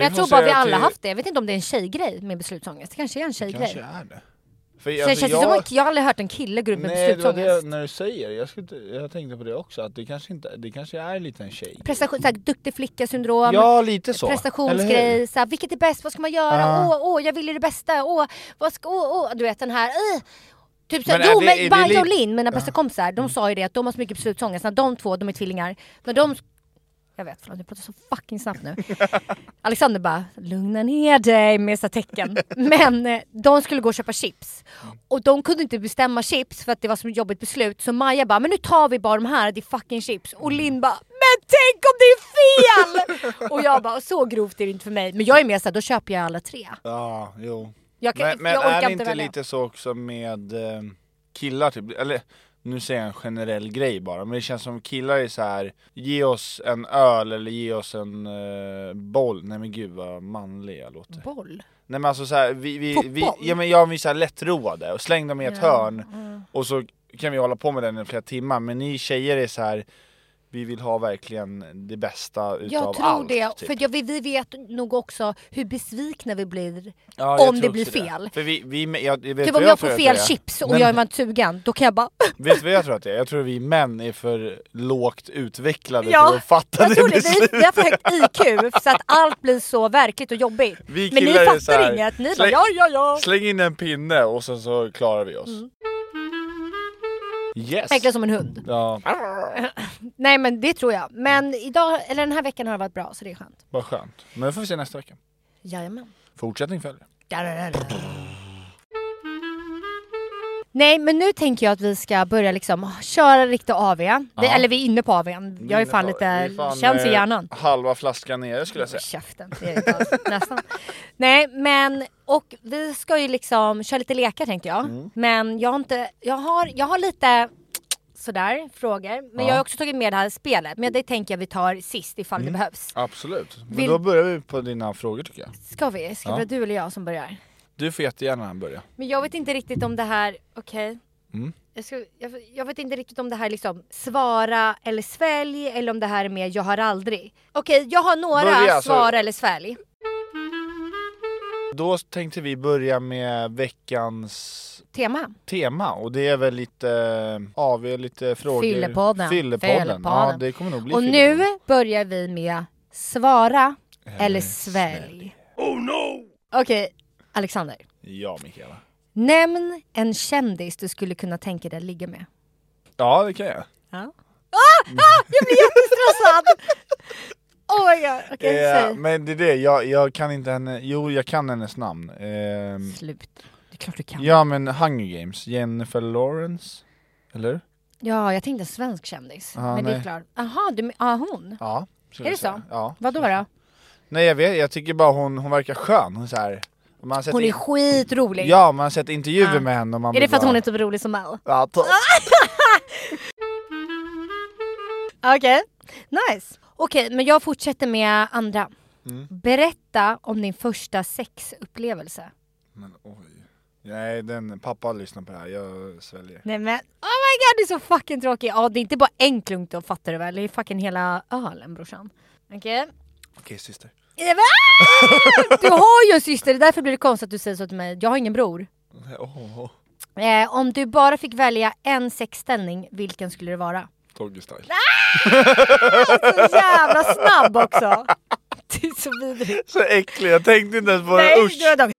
[SPEAKER 2] vi
[SPEAKER 3] jag
[SPEAKER 2] får
[SPEAKER 3] tror bara
[SPEAKER 2] säga
[SPEAKER 3] vi alla
[SPEAKER 2] till-
[SPEAKER 3] haft det. Jag vet inte om det är en tjejgrej med beslutsångest. Det kanske är en tjejgrej.
[SPEAKER 2] Kanske Alltså, är det. För, alltså,
[SPEAKER 3] Så det känns jag... som att jag har aldrig hört en kille gå ut med
[SPEAKER 2] Nej det var
[SPEAKER 3] beslutsångest.
[SPEAKER 2] det när du säger, jag, skulle, inte- jag tänkte på det också, att det kanske, inte, det kanske är lite en tjej.
[SPEAKER 3] prestation, såhär, duktig flicka syndrom.
[SPEAKER 2] Ja lite så. eller hur? Ah.
[SPEAKER 3] Prestationsgrej, såhär, vilket är bäst, vad ska man göra,
[SPEAKER 2] Ja.
[SPEAKER 3] åh, åh, jag vill ju det bästa, åh, vad ska, åh, åh, du vet den här, eh. Typ såhär,
[SPEAKER 2] Men är
[SPEAKER 3] jo
[SPEAKER 2] det- är det
[SPEAKER 3] men Baja och
[SPEAKER 2] li- Mm.
[SPEAKER 3] Linn, mina bästa kompisar, de sa ju det att de har så mycket beslutsångest, när de två, de är tvillingar, när de jag vet, förlåt jag pratar så fucking snabbt nu. Alexander bara, lugna ner dig med så här tecken. Men eh, de skulle gå och köpa chips. Och de kunde inte bestämma chips för att det var så jobbigt beslut. Så Maja bara, men nu tar vi bara de här, det är fucking chips. Och
[SPEAKER 2] Mm.
[SPEAKER 3] Linn bara, men tänk om det är fel! och jag bara, så grovt är det inte för mig. Men jag är mer såhär, då köper jag alla tre.
[SPEAKER 2] Ja, jo.
[SPEAKER 3] Jag, kan,
[SPEAKER 2] Men, men
[SPEAKER 3] jag orkar
[SPEAKER 2] är det
[SPEAKER 3] inte
[SPEAKER 2] inte
[SPEAKER 3] välja.
[SPEAKER 2] lite så också med eh, killar typ? Eller nu säger jag en generell grej bara, men det känns som killar är så här. Ge oss en öl eller ge oss en eh, boll. Nej men gud vad manlig jag låter.
[SPEAKER 3] Boll.
[SPEAKER 2] Nej men alltså så här, vi, vi, vi,
[SPEAKER 3] Fotboll?
[SPEAKER 2] ja, men jag vi är så här lättroade och släng dem i ett
[SPEAKER 3] Ja, Mm.
[SPEAKER 2] hörn och så kan vi hålla på med den i flera timmar men ni tjejer är så här vi vill ha verkligen det bästa utav
[SPEAKER 3] Jag tror
[SPEAKER 2] allt.
[SPEAKER 3] det,
[SPEAKER 2] typ.
[SPEAKER 3] för jag, vi, vi vet nog också hur besvikna vi blir
[SPEAKER 2] Ja, jag
[SPEAKER 3] om det
[SPEAKER 2] tror
[SPEAKER 3] blir
[SPEAKER 2] också
[SPEAKER 3] fel.
[SPEAKER 2] För vi, vi, jag, jag vet
[SPEAKER 3] Typ
[SPEAKER 2] vad
[SPEAKER 3] om jag
[SPEAKER 2] tror
[SPEAKER 3] får
[SPEAKER 2] att
[SPEAKER 3] fel
[SPEAKER 2] det är.
[SPEAKER 3] chips och
[SPEAKER 2] Nej,
[SPEAKER 3] jag är
[SPEAKER 2] men-
[SPEAKER 3] man sugen, då kan jag bara
[SPEAKER 2] Vet du vad jag tror att det är? Jag tror vi män är för lågt utvecklade
[SPEAKER 3] Ja,
[SPEAKER 2] för att fatta
[SPEAKER 3] Jag
[SPEAKER 2] det
[SPEAKER 3] tror det,
[SPEAKER 2] beslutet.
[SPEAKER 3] vi, vi har för högt IQ så att allt blir så verkligt och jobbigt.
[SPEAKER 2] Vi
[SPEAKER 3] Men ni
[SPEAKER 2] killar är så här,
[SPEAKER 3] fattar inget, ni bara
[SPEAKER 2] släng-
[SPEAKER 3] ja ja ja.
[SPEAKER 2] Släng in en pinne och sen så klarar vi oss. Yes!
[SPEAKER 3] Mm. Verkligen som en hund.
[SPEAKER 2] Ja,
[SPEAKER 3] Nej men det tror jag. Men idag, eller den här veckan har det varit bra så det är skönt.
[SPEAKER 2] vad skönt. Men det får vi se nästa vecka.
[SPEAKER 3] Jajamän.
[SPEAKER 2] Fortsättning följer.
[SPEAKER 3] Nej men nu tänker jag att vi ska börja liksom köra riktiga AV. Vi, eller vi är inne på AWn. Jag är fan
[SPEAKER 2] Vi
[SPEAKER 3] lite,
[SPEAKER 2] är fan,
[SPEAKER 3] känns i
[SPEAKER 2] eh,
[SPEAKER 3] hjärnan.
[SPEAKER 2] Halva flaskan nere skulle jag säga.
[SPEAKER 3] Käften, det är det inte alls. nästan. Nej men, och vi ska ju liksom köra lite lekar tänkte jag.
[SPEAKER 2] Mm.
[SPEAKER 3] Men jag har inte, jag har, jag har lite sådär frågor. Men jag har också tagit med det här spelet. Men det tänker jag vi tar sist ifall
[SPEAKER 2] Mm.
[SPEAKER 3] det behövs.
[SPEAKER 2] Absolut. Men
[SPEAKER 3] Vill-
[SPEAKER 2] då börjar vi på dina frågor tycker jag.
[SPEAKER 3] Ska vi? Ska det
[SPEAKER 2] Ja.
[SPEAKER 3] vara du eller jag som börjar?
[SPEAKER 2] Du får jättegärna börja.
[SPEAKER 3] Men jag vet inte riktigt om det här, okej.
[SPEAKER 2] Mm.
[SPEAKER 3] Jag, ska- jag, jag vet inte riktigt om det här liksom svara eller svälj eller om det här är mer jag har aldrig. Okej, jag har några
[SPEAKER 2] Börja, så-
[SPEAKER 3] svara eller svälj.
[SPEAKER 2] Då tänkte vi börja med veckans
[SPEAKER 3] Tema.
[SPEAKER 2] tema och det är väl lite eh, AV, lite frågor.
[SPEAKER 3] Fyllepodden.
[SPEAKER 2] Fyllepodden.
[SPEAKER 3] Fyllepodden.
[SPEAKER 2] Ja, det kommer nog bli
[SPEAKER 3] Och nu börjar vi med svara eller, svälj. Oh no! Okej, Alexander.
[SPEAKER 2] Ja, Mikaela.
[SPEAKER 3] Nämn en kändis du skulle kunna tänka dig att ligga med.
[SPEAKER 2] Ja, det kan jag.
[SPEAKER 3] Ja. Ah! Ah! Jag blir jättestressad! oh my god, okej
[SPEAKER 2] Eh,
[SPEAKER 3] säg.
[SPEAKER 2] men det är det, jag, jag kan inte henne, jo jag kan hennes namn. Ehm,
[SPEAKER 3] Slut. Det är klart du kan. Ja,
[SPEAKER 2] ja men Hunger Games, Jennifer Lawrence, eller?
[SPEAKER 3] jag tänkte en svensk kändis.
[SPEAKER 2] Ja,
[SPEAKER 3] men det är
[SPEAKER 2] nej.
[SPEAKER 3] klart. Jaha, du men- ah, hon.
[SPEAKER 2] Ja. skulle
[SPEAKER 3] Är
[SPEAKER 2] jag
[SPEAKER 3] det
[SPEAKER 2] säga.
[SPEAKER 3] så?
[SPEAKER 2] Ja.
[SPEAKER 3] Vadå då?
[SPEAKER 2] Nej jag vet, jag tycker bara hon, hon verkar skön. Hon, är så här, man har sett
[SPEAKER 3] Hon är
[SPEAKER 2] in-
[SPEAKER 3] skitrolig.
[SPEAKER 2] Ja, man har sett intervjuer
[SPEAKER 3] Ja.
[SPEAKER 2] med henne och man
[SPEAKER 3] Är det
[SPEAKER 2] blir
[SPEAKER 3] för att
[SPEAKER 2] bara,
[SPEAKER 3] hon är Ah! typ rolig som Mel?
[SPEAKER 2] Ja, topp.
[SPEAKER 3] Okej, nice. Okej, men jag fortsätter med andra. Berätta om din första sexupplevelse.
[SPEAKER 2] Men oj. Nej, den, pappa lyssnar på det här, jag sväljer.
[SPEAKER 3] Nej men, oh my god det är så fucking tråkigt. Ja, det är inte bara en klunk då fattar du väl? Det är fucking hela ölen brorsan. Okej.
[SPEAKER 2] Okej syster.
[SPEAKER 3] Nej, men, ah! Du har ju en syster, det är därför blir det konstigt att du säger så till mig. Jag har ingen bror.
[SPEAKER 2] Åh, oh,
[SPEAKER 3] Eh, om du bara fick välja en sexställning, vilken skulle det vara?
[SPEAKER 2] Doggy style.
[SPEAKER 3] Så jävla snabb också! Det är så vidrigt.
[SPEAKER 2] Så äcklig, jag tänkte inte ens på det,
[SPEAKER 3] Nej,
[SPEAKER 2] usch!
[SPEAKER 3] du har dock-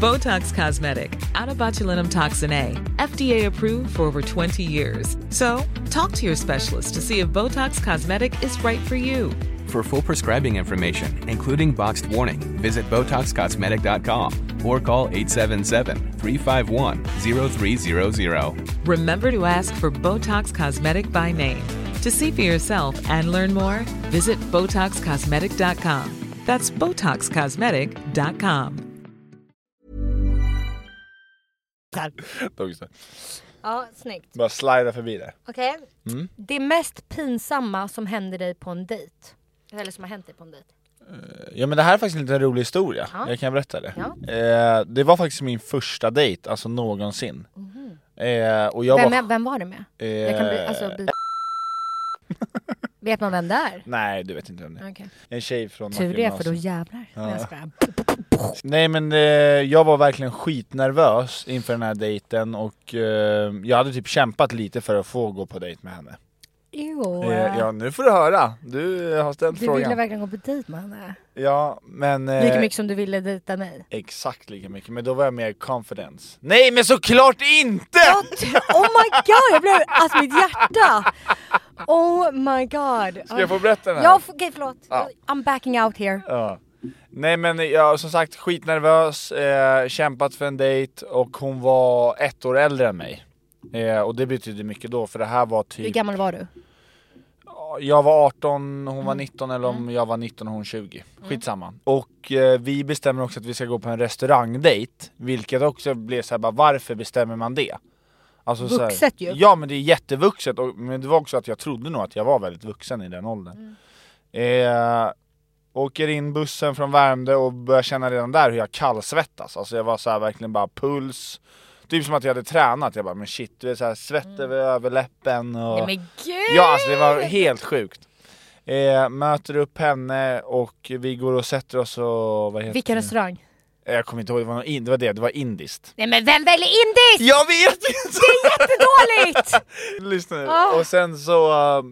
[SPEAKER 6] Botox Cosmetic, out of botulinum toxin A, FDA approved for over 20 years. So, talk to your specialist to see if Botox Cosmetic is right for you.
[SPEAKER 7] For full prescribing information, including boxed warning, visit BotoxCosmetic.com or call 877-351-0300.
[SPEAKER 6] Remember to ask for Botox Cosmetic by name. To see for yourself and learn more, visit BotoxCosmetic.com. That's BotoxCosmetic.com.
[SPEAKER 2] Doggy style.
[SPEAKER 3] Ja, snyggt.
[SPEAKER 2] Bara slida förbi det.
[SPEAKER 3] Okej.
[SPEAKER 2] Mm.
[SPEAKER 3] Det mest pinsamma som hände dig på en dejt. Eller som har hänt dig på en dejt.
[SPEAKER 2] Ja men det här är faktiskt en liten rolig historia,
[SPEAKER 3] Ja.
[SPEAKER 2] jag kan berätta det.
[SPEAKER 3] Ja.
[SPEAKER 2] Eh, det var faktiskt min första dejt, alltså någonsin. Eh, och jag
[SPEAKER 3] Mhm. Vem,
[SPEAKER 2] var...
[SPEAKER 3] vem var det med?
[SPEAKER 2] Eh,
[SPEAKER 3] Jag kan bli, alltså, bli... Vet man vem det är?
[SPEAKER 2] Nej du vet inte vem det är.
[SPEAKER 3] Okej.
[SPEAKER 2] En tjej från
[SPEAKER 3] Tur det, för då
[SPEAKER 2] gymnasiet.
[SPEAKER 3] jävlar. Ja. Jag skojar.
[SPEAKER 2] Nej men eh, jag var verkligen skitnervös inför den här dejten och eh, jag hade typ kämpat lite för att få gå på dejt med henne.
[SPEAKER 3] Jo.
[SPEAKER 2] Eh, ja nu får du höra, du har ställt
[SPEAKER 3] Du ville
[SPEAKER 2] frågan. Eh.
[SPEAKER 3] verkligen gå på dejt med henne.
[SPEAKER 2] Ja men... eh,
[SPEAKER 3] Lika mycket som du ville dejta mig.
[SPEAKER 2] Exakt lika mycket, men då var jag mer confidence. Nej men såklart inte!
[SPEAKER 3] Jag tr- Oh my god, jag blev... Alltså mitt hjärta! Oh my god.
[SPEAKER 2] Ska jag få berätta den här?
[SPEAKER 3] Ja, f- okej förlåt. I'm backing out here.
[SPEAKER 2] Ja. Nej men jag som sagt skitnervös, eh, kämpat för en dejt och hon var ett år äldre än mig. Eh, och det betydde mycket då för det här var
[SPEAKER 3] Hur
[SPEAKER 2] typ,
[SPEAKER 3] gammal var du?
[SPEAKER 2] jag var 18, hon
[SPEAKER 3] Mm.
[SPEAKER 2] var 19 eller om jag var 19 och hon 20. Skitsamma. Och eh, vi bestämmer också att vi ska gå på en restaurangdejt, vilket också blev såhär bara varför bestämmer man det? Alltså, så här-
[SPEAKER 3] Vuxet ju.
[SPEAKER 2] Ja men det är jättevuxet, och, men det var också att jag trodde nog att jag var väldigt vuxen i den åldern.
[SPEAKER 3] Mm.
[SPEAKER 2] Eh, åker in bussen från Värmdö och börjar känna redan där hur jag kallsvettas. Alltså jag var så här verkligen bara puls, typ som att jag hade tränat. Jag bara men shit, du vet så här, svett över överläppen och...
[SPEAKER 3] Mm. Nej men gud!
[SPEAKER 2] Ja alltså det var helt sjukt. Eh, möter upp henne och vi går och sätter oss och vad heter
[SPEAKER 3] Vilken restaurang?
[SPEAKER 2] det? Jag kommer inte ihåg, det var, någon in, det, var det, det var indiskt.
[SPEAKER 3] Nej men vem väljer indiskt?
[SPEAKER 2] Jag vet inte!
[SPEAKER 3] Dåligt!
[SPEAKER 2] Lyssna nu.
[SPEAKER 3] Ah.
[SPEAKER 2] Och sen så,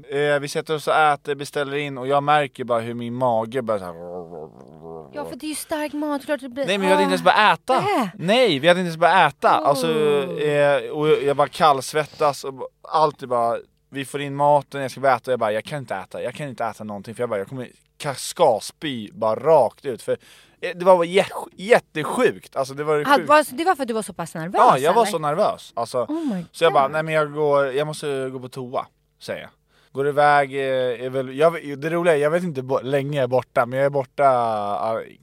[SPEAKER 2] eh, vi sätter oss och äter, beställer in och jag märker bara hur min mage börjar såhär...
[SPEAKER 3] Ja för det är ju stark mat, klart det blir... Ah.
[SPEAKER 2] Nej men vi hade inte ens börjat äta!
[SPEAKER 3] Nä.
[SPEAKER 2] Nej, vi hade inte ens börjat äta! Alltså,
[SPEAKER 3] Oh.
[SPEAKER 2] eh, och jag bara kallsvettas och allt är bara... vi får in maten, jag ska bara äta och jag bara jag kan inte äta, jag kan inte äta någonting för jag bara jag kommer kaskaspy bara rakt ut för eh, det var jä- jättesjukt, alltså det var det
[SPEAKER 3] Ah,
[SPEAKER 2] sjukaste.
[SPEAKER 3] var- Det var för att du var så pass nervös
[SPEAKER 2] Ja, jag var
[SPEAKER 3] eller?
[SPEAKER 2] så nervös. Alltså,
[SPEAKER 3] Oh my
[SPEAKER 2] så jag bara,
[SPEAKER 3] God.
[SPEAKER 2] nej men jag går, jag måste gå på toa, säger jag. Går iväg, eh, är väl, jag, det roliga är, jag vet inte bo, länge jag är borta, men jag är borta,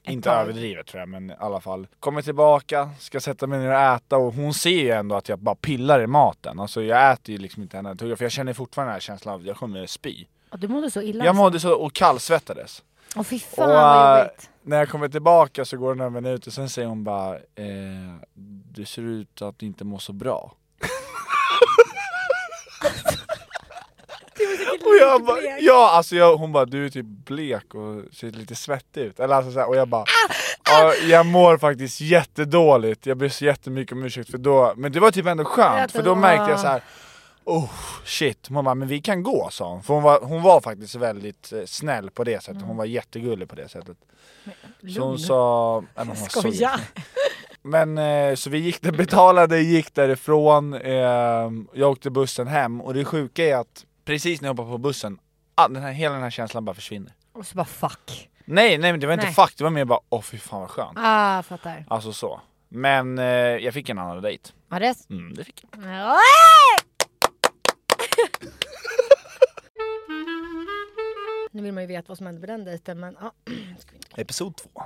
[SPEAKER 2] eh, inte
[SPEAKER 3] tag.
[SPEAKER 2] överdrivet tror jag, men i alla fall. Kommer tillbaka, ska sätta mig ner och äta och hon ser ju ändå att jag bara pillar i maten. Alltså jag äter ju liksom inte henne en tugga, för jag känner fortfarande den här känslan av att jag kommer spy.
[SPEAKER 3] Och du mådde så illa
[SPEAKER 2] Jag mådde så, och kallsvettades.
[SPEAKER 3] alltså. Åh fy fan
[SPEAKER 2] Och,
[SPEAKER 3] vad
[SPEAKER 2] eh,
[SPEAKER 3] jobbigt
[SPEAKER 2] när jag kommer tillbaka så går det några minuter, sen säger hon bara eh, Du ser ut att inte må så bra Och jag bara, ja alltså jag, hon bara du är typ blek och ser lite svettig ut Eller alltså så här, och jag bara
[SPEAKER 3] Ah!
[SPEAKER 2] ja, Jag mår faktiskt jättedåligt, jag ber så jättemycket om ursäkt för då Men det var typ ändå skönt för då märkte jag så här Oh shit, hon bara, men vi kan gå sa hon. För hon var, hon var faktiskt väldigt eh, snäll på det sättet,
[SPEAKER 3] Mm.
[SPEAKER 2] hon var jättegullig på det sättet. Så hon sa... Nej, men hon var så
[SPEAKER 8] Skoja!
[SPEAKER 2] men eh, så vi gick där, betalade, gick därifrån, eh, jag åkte bussen hem och det sjuka är att precis när jag hoppar på bussen, all, den här, hela den här känslan bara försvinner.
[SPEAKER 3] Och så bara fuck
[SPEAKER 2] Nej nej men det var inte
[SPEAKER 3] Nej.
[SPEAKER 2] fuck, det var mer bara åh fy fan vad skönt.
[SPEAKER 3] Ah fattar
[SPEAKER 2] Alltså så. Men eh, jag fick en annan dejt.
[SPEAKER 3] Ja det är så-
[SPEAKER 2] Mm, det fick jag.
[SPEAKER 3] Ja. Nu vill man ju veta vad som hände på den dejten men ja. Ska vi inte-
[SPEAKER 2] Episod två.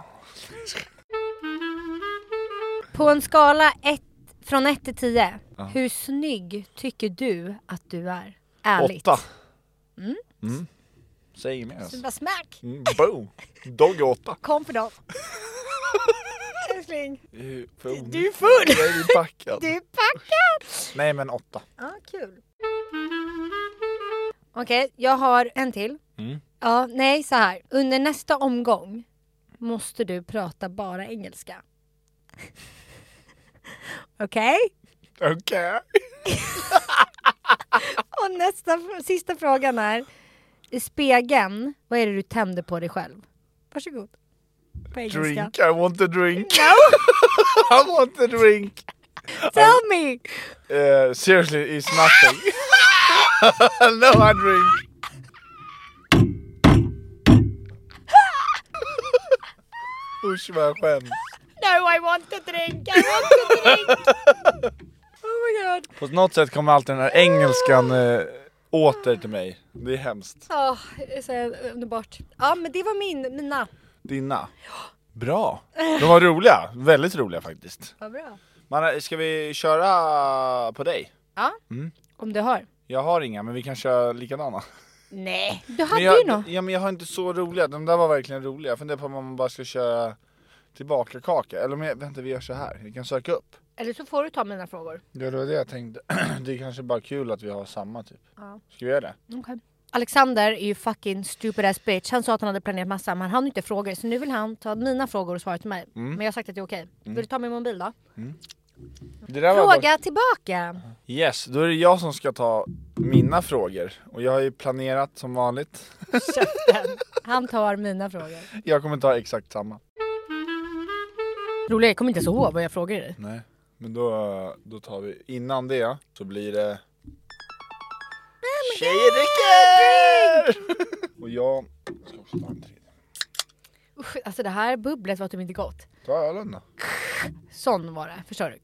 [SPEAKER 3] På en skala ett, från 1 till 10 Hur snygg tycker du att du är? Ärligt
[SPEAKER 2] Åtta. Mm. Säg inget mer
[SPEAKER 3] Så
[SPEAKER 2] alltså.
[SPEAKER 3] bara smack!
[SPEAKER 2] Mm, boom! Dogg är åtta.
[SPEAKER 3] Kom för dem! Älskling,
[SPEAKER 2] Du är
[SPEAKER 3] du är full!
[SPEAKER 2] Jag är packad.
[SPEAKER 3] Du är packad!
[SPEAKER 2] Nej men åtta.
[SPEAKER 3] Ja, kul. Okej, jag har en till. Ja, nej, så här. Under nästa omgång måste du prata bara engelska. Okej?
[SPEAKER 2] Okej.
[SPEAKER 3] Och nästa, sista frågan är. I spegeln, vad är det du tänder på dig själv? Varsågod. På engelska.
[SPEAKER 2] Drink, I want a drink. I want a drink.
[SPEAKER 3] Tell me!
[SPEAKER 2] Uh, seriously, it's nothing. no, I drink. Usch vad jag skäms.
[SPEAKER 3] No, I want to drink! I want to drink! Oh my god.
[SPEAKER 2] På något sätt kommer alltid den här engelskan eh, åter till mig. Det är hemskt.
[SPEAKER 3] Ja, så Ah, underbart. Ja, men det var min, mina.
[SPEAKER 2] Dina. Bra. De var roliga. Väldigt roliga faktiskt.
[SPEAKER 3] Vad bra.
[SPEAKER 2] Man, eh, ska vi köra på dig?
[SPEAKER 3] Ja,
[SPEAKER 2] Mm.
[SPEAKER 3] om du har.
[SPEAKER 2] Jag har inga, men vi kan köra likadana.
[SPEAKER 3] Nej. Du hade
[SPEAKER 2] Men jag,
[SPEAKER 3] ju något.
[SPEAKER 2] Ja men jag har inte så roliga, de där var verkligen roliga. Jag funderar på om man bara ska köra tillbaka kaka. Eller om jag, vänta vi gör så här. vi kan söka upp.
[SPEAKER 3] Eller så får du ta mina frågor.
[SPEAKER 2] Ja det var det jag tänkte. det är kanske bara kul att vi har samma typ.
[SPEAKER 3] Ja. Mm.
[SPEAKER 2] Ska vi göra det?
[SPEAKER 3] Alexander är ju fucking stupid ass bitch. Han sa att han hade planerat massa men han hann inte frågor. Så nu vill han ta mina frågor och svara till mig.
[SPEAKER 2] Mm.
[SPEAKER 3] Men jag har sagt att det är okej. Vill du ta min mobil då?
[SPEAKER 2] det där var
[SPEAKER 3] Fråga tillbaka!
[SPEAKER 2] dock- Yes, då är det jag som ska ta mina frågor. Och jag har ju planerat som vanligt.
[SPEAKER 3] Käften. Han tar mina frågor.
[SPEAKER 2] Jag kommer ta exakt samma.
[SPEAKER 3] Roligt, jag kommer inte ens ihåg vad jag frågade dig.
[SPEAKER 2] Nej. Men då, då tar vi, innan det så blir det... Tjejrycker! Och jag ska också ta en tredje.
[SPEAKER 3] Usch, alltså det här bubblet var typ inte gott.
[SPEAKER 2] Ta ölen då.
[SPEAKER 3] Sån var det, förstår du?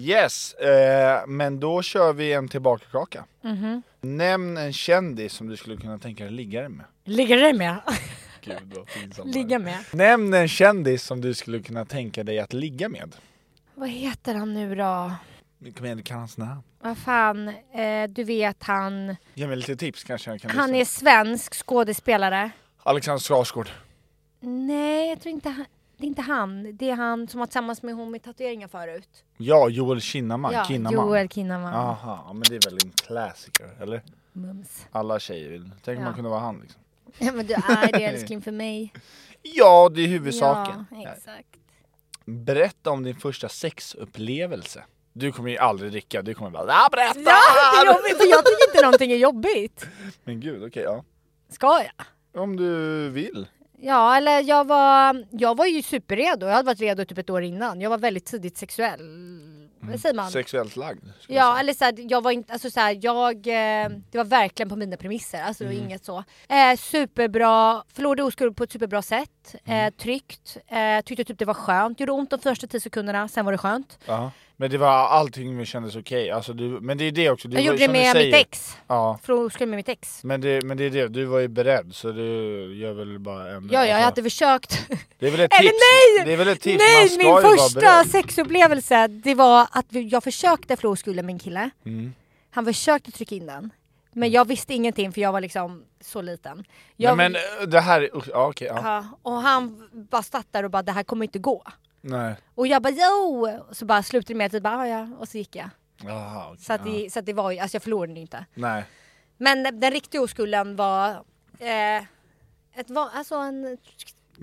[SPEAKER 2] Yes, eh, men då kör vi en tillbakakaka.
[SPEAKER 3] Mhm.
[SPEAKER 2] Nämn en kändis som du skulle kunna tänka dig ligga dig med.
[SPEAKER 3] Ligger du med?
[SPEAKER 2] Gud vad pinsamt.
[SPEAKER 3] Ligga med?
[SPEAKER 2] Nämn en kändis som du skulle kunna tänka dig att ligga med.
[SPEAKER 3] Vad heter han nu då?
[SPEAKER 2] Kom igen, du kan hans namn.
[SPEAKER 3] Vad fan, eh, du vet han...
[SPEAKER 2] Ge mig lite tips kanske jag kan
[SPEAKER 3] Han är
[SPEAKER 2] lyssna.
[SPEAKER 3] svensk skådespelare.
[SPEAKER 2] Alexander Skarsgård.
[SPEAKER 3] Nej, jag tror inte han. Det är inte han. Det är han som var tillsammans med hon med tatueringar förut.
[SPEAKER 2] Ja, Joel Kinnaman.
[SPEAKER 3] ja,
[SPEAKER 2] Kinnaman.
[SPEAKER 3] Joel Ah, Kinnaman. Ah.
[SPEAKER 2] Aha, ja, men det är väl en klassiker, eller?
[SPEAKER 3] Mums.
[SPEAKER 2] Alla tjejer vill. Tänk om
[SPEAKER 3] Ja.
[SPEAKER 2] man kunde vara han liksom.
[SPEAKER 3] Ja, men du är det älskling för mig.
[SPEAKER 2] Ja, det är huvudsaken.
[SPEAKER 3] Ja, exakt.
[SPEAKER 2] Berätta om din första sexupplevelse. Du kommer ju aldrig dricka, du kommer bara "Ah, berätta!
[SPEAKER 3] Ja, det är jobbigt för jag tycker inte någonting är jobbigt.
[SPEAKER 2] Men gud, okej
[SPEAKER 3] Ska jag?
[SPEAKER 2] ja. Om du vill.
[SPEAKER 3] Ja, eller jag var, jag var ju superredo. Jag hade varit redo typ ett år innan. Jag var väldigt tidigt sexuell. säger man?
[SPEAKER 2] Sexuellt lagd. ska jag
[SPEAKER 3] Ja eller såhär, jag var inte, alltså såhär, jag, eh,
[SPEAKER 2] Mm.
[SPEAKER 3] det var verkligen på mina premisser, alltså det var inget så. Eh, superbra, förlorade oskuld på ett superbra sätt,
[SPEAKER 2] Mm.
[SPEAKER 3] eh, tryggt, eh, tyckte typ det var skönt, gjorde ont de första 10 sekunderna, sen var det skönt.
[SPEAKER 2] säga. Ja. Men det var allting kändes okej, alltså du, men det är det också. Du
[SPEAKER 3] Jag
[SPEAKER 2] var-
[SPEAKER 3] gjorde det
[SPEAKER 2] som du
[SPEAKER 3] med
[SPEAKER 2] säger-
[SPEAKER 3] mitt ex,
[SPEAKER 2] Ja.
[SPEAKER 3] förlorade oskuld med mitt ex.
[SPEAKER 2] Men det, men det är det, du var ju beredd så du gör väl bara en...
[SPEAKER 3] Ja, ja jag
[SPEAKER 2] alltså,
[SPEAKER 3] hade försökt.
[SPEAKER 2] Det är väl ett tips?
[SPEAKER 3] Eller nej!
[SPEAKER 2] Det är väl ett tips? Man
[SPEAKER 3] Nej,
[SPEAKER 2] ska ju
[SPEAKER 3] min
[SPEAKER 2] vara
[SPEAKER 3] första
[SPEAKER 2] beredd.
[SPEAKER 3] sexupplevelse det var att vi- jag försökte förlora oskulden med en kille.
[SPEAKER 2] Mm.
[SPEAKER 3] Han försökte trycka in den. Men jag visste ingenting för jag var liksom så liten. Jag,
[SPEAKER 2] Nej, men eh, det här, usch, ja okej, ja.
[SPEAKER 3] ja, och han bara satt där och bara det här kommer inte gå.
[SPEAKER 2] Nej.
[SPEAKER 3] Och jag bara jo! Så bara slutade det med att jag bara, "Ah, ja, och så gick jag.
[SPEAKER 2] Aha, okej,
[SPEAKER 3] Så att,
[SPEAKER 2] ja.
[SPEAKER 3] det, så att det var ju, alltså jag förlorade den inte.
[SPEAKER 2] Nej.
[SPEAKER 3] Men den, den riktiga oskulden var eh, ett, va- alltså en
[SPEAKER 2] Men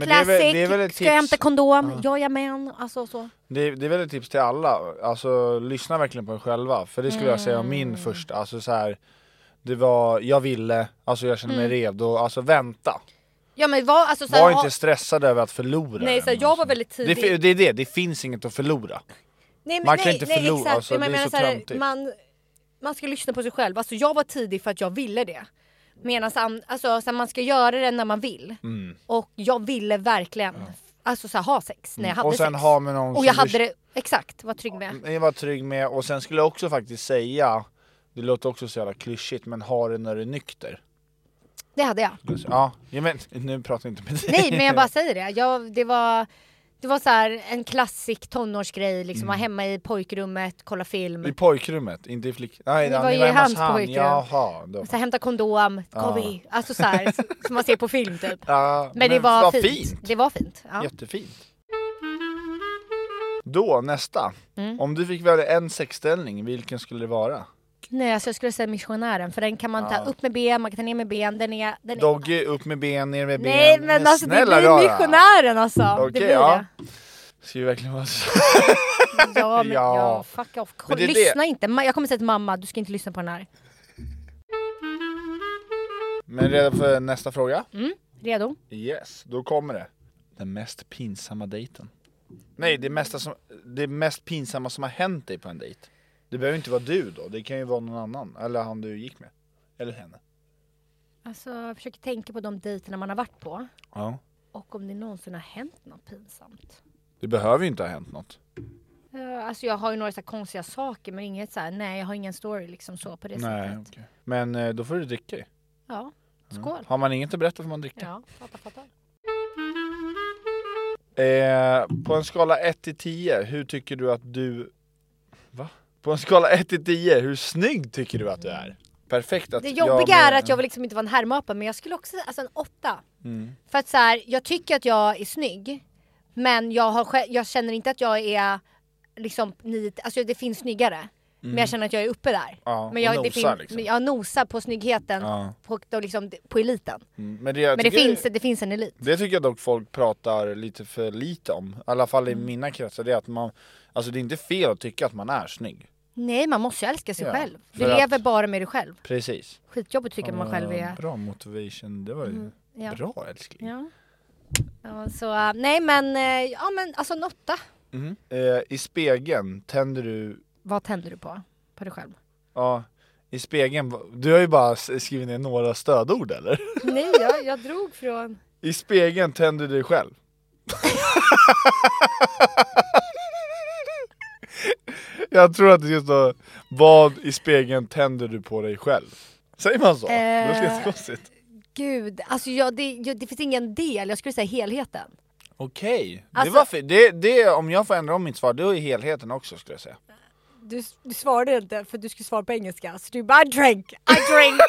[SPEAKER 2] det är
[SPEAKER 3] classic,
[SPEAKER 2] väl- det är väl ett
[SPEAKER 3] ska jag
[SPEAKER 2] tips?
[SPEAKER 3] hämta kondom? Jajamän, alltså så.
[SPEAKER 2] Det, det är väl ett tips till alla, alltså lyssna verkligen på er själva. För det skulle jag säga om
[SPEAKER 3] Mm.
[SPEAKER 2] min första, alltså så här, det var, jag ville, alltså jag kände mig redo, alltså vänta.
[SPEAKER 3] Ja men var, alltså, Mm. så här,
[SPEAKER 2] Var
[SPEAKER 3] ha-
[SPEAKER 2] inte stressad över att förlora
[SPEAKER 3] Nej,
[SPEAKER 2] den,
[SPEAKER 3] så här, jag var
[SPEAKER 2] alltså.
[SPEAKER 3] väldigt
[SPEAKER 2] Det, fi-
[SPEAKER 3] tidig.
[SPEAKER 2] det är det, det finns inget att förlora.
[SPEAKER 3] Nej, men-
[SPEAKER 2] Man kan
[SPEAKER 3] nej,
[SPEAKER 2] inte
[SPEAKER 3] nej,
[SPEAKER 2] förlora,
[SPEAKER 3] exakt.
[SPEAKER 2] alltså,
[SPEAKER 3] Men jag
[SPEAKER 2] det är
[SPEAKER 3] menar
[SPEAKER 2] så
[SPEAKER 3] här,
[SPEAKER 2] töntigt.
[SPEAKER 3] man, man ska lyssna på sig själv. Alltså, jag var tidig för att jag ville det. Medan an- alltså, så här, man ska göra det när man vill.
[SPEAKER 2] Mm.
[SPEAKER 3] Och jag ville verkligen alltså, så här, ha sex när jag hade
[SPEAKER 2] Mm. Och sen
[SPEAKER 3] sex.
[SPEAKER 2] ha med någon
[SPEAKER 3] och jag
[SPEAKER 2] som du- Mm.
[SPEAKER 3] hade det exakt, var trygg med.
[SPEAKER 2] Jag var trygg med, och sen skulle jag också faktiskt säga, det låter också så jävla klyschigt, men ha det när du är nykter.
[SPEAKER 3] Det hade jag.
[SPEAKER 2] Alltså, Ja, ja men, nu pratar jag inte med dig.
[SPEAKER 3] Nej men jag bara säger det. Jag, det var, det var så här, en klassisk tonårsgrej. Liksom, Vara hemma i pojkrummet, kolla film.
[SPEAKER 2] Mm. I pojkrummet, inte i flick... Nej,
[SPEAKER 3] Det
[SPEAKER 2] ja,
[SPEAKER 3] var
[SPEAKER 2] ni
[SPEAKER 3] ju
[SPEAKER 2] hemma hos
[SPEAKER 3] hans
[SPEAKER 2] han.
[SPEAKER 3] pojkrum.
[SPEAKER 2] Jaha. Då.
[SPEAKER 3] Så här, hämta kondom, copy. Alltså så här, s- som man ser på film typ.
[SPEAKER 2] Ja,
[SPEAKER 3] Men, det var
[SPEAKER 2] vad
[SPEAKER 3] fint. Det var fint. Ja.
[SPEAKER 2] Jättefint. Då, nästa. Om du fick välja en sexställning, vilken skulle det vara?
[SPEAKER 3] Mm. Nej, alltså jag skulle säga missionären för den kan man ta upp med ben, man kan ta ner med ben. Den är... Den är...
[SPEAKER 2] Doggy, upp med ben, ner med ben.
[SPEAKER 3] Nej men alltså det
[SPEAKER 2] Snälla
[SPEAKER 3] blir
[SPEAKER 2] rara.
[SPEAKER 3] missionären alltså.
[SPEAKER 2] Okej,
[SPEAKER 3] det blir
[SPEAKER 2] ja.
[SPEAKER 3] ja.
[SPEAKER 2] Ska vi verkligen vara så?
[SPEAKER 3] det. Ja, men,
[SPEAKER 2] Ja.
[SPEAKER 3] ja. fuck off.
[SPEAKER 2] Men det är
[SPEAKER 3] lyssna
[SPEAKER 2] det.
[SPEAKER 3] inte. Ma- Jag kommer säga till mamma, du ska inte lyssna på den här.
[SPEAKER 2] Men redo för nästa fråga?
[SPEAKER 3] Redo?
[SPEAKER 2] Yes, då kommer det. Den mest pinsamma dejten. Nej, det, mesta som, det mest pinsamma som har hänt dig på en dejt. Det behöver inte vara du då, det kan ju vara någon annan. Eller han du gick med. Eller henne.
[SPEAKER 3] Alltså jag försöker tänka på de dejterna man har varit på.
[SPEAKER 2] Ja.
[SPEAKER 3] Och om det någonsin har hänt något pinsamt.
[SPEAKER 2] Det behöver ju inte ha hänt något.
[SPEAKER 3] Eh, Alltså jag har ju några så här konstiga saker men inget så här, nej jag har ingen story liksom så på det
[SPEAKER 2] Nej,
[SPEAKER 3] sättet.
[SPEAKER 2] okej. Men eh, då får du dricka ju.
[SPEAKER 3] Ja, skål.
[SPEAKER 2] Har man inget att berätta får man dricka.
[SPEAKER 3] Ja, fattar, fattar.
[SPEAKER 2] Eh, på en skala 1 till 10, hur tycker du att du... Va? På en skala 1 till 10, hur snygg tycker du att du är? Perfekt att
[SPEAKER 3] Det
[SPEAKER 2] jag
[SPEAKER 3] jobbiga
[SPEAKER 2] med-
[SPEAKER 3] är att jag vill liksom inte vara en härmapa men jag skulle också säga alltså en åtta.
[SPEAKER 2] Mm.
[SPEAKER 3] För att så här, jag tycker att jag är snygg men jag, har, sj- jag känner inte att jag är liksom nio, alltså det finns snyggare. Men jag känner att jag är uppe där.
[SPEAKER 2] Mm. Ja,
[SPEAKER 3] men
[SPEAKER 2] och
[SPEAKER 3] jag, det
[SPEAKER 2] nosar
[SPEAKER 3] fin-
[SPEAKER 2] liksom.
[SPEAKER 3] men jag nosar på snyggheten
[SPEAKER 2] Ja.
[SPEAKER 3] på, då liksom, på eliten.
[SPEAKER 2] Mm, Men det, jag
[SPEAKER 3] men det
[SPEAKER 2] tycker-
[SPEAKER 3] finns, det finns en elit.
[SPEAKER 2] Det tycker jag dock folk pratar lite för lite om, i alla fall
[SPEAKER 3] Mm.
[SPEAKER 2] i mina kretsar, det är att man Alltså det är inte fel att tycka att man är snygg
[SPEAKER 3] Nej man måste ju älska sig
[SPEAKER 2] Ja,
[SPEAKER 3] själv. Du
[SPEAKER 2] för att-
[SPEAKER 3] lever bara med dig själv.
[SPEAKER 2] Precis
[SPEAKER 3] Skitjobbigt tycker man själv är.
[SPEAKER 2] Bra motivation, det var ju
[SPEAKER 3] Mm, ja.
[SPEAKER 2] bra älskling
[SPEAKER 3] Ja. Ja, så äh, nej men, eh, ja men alltså en åtta.
[SPEAKER 2] Mm. eh, I spegeln tänder du,
[SPEAKER 3] Vad tänder du på? På dig själv?
[SPEAKER 2] ja i spegeln, du har ju bara s- skrivit ner några stödord eller?
[SPEAKER 3] Nej, jag, jag drog från...
[SPEAKER 2] I spegeln tänder du dig själv Jag tror att det ska stå Vad i spegeln tänder du på dig själv? Säger man så? Det låter
[SPEAKER 3] Eh,
[SPEAKER 2] jättekonstigt
[SPEAKER 3] Gud, alltså jag, det, jag, det finns ingen del, jag skulle säga helheten.
[SPEAKER 2] Okej,
[SPEAKER 3] Alltså-
[SPEAKER 2] det var fi- det, det, om jag får ändra om mitt svar, då är helheten också skulle jag säga.
[SPEAKER 3] Du, du svarade inte för du skulle svara på engelska, så du bara I drink, I drink.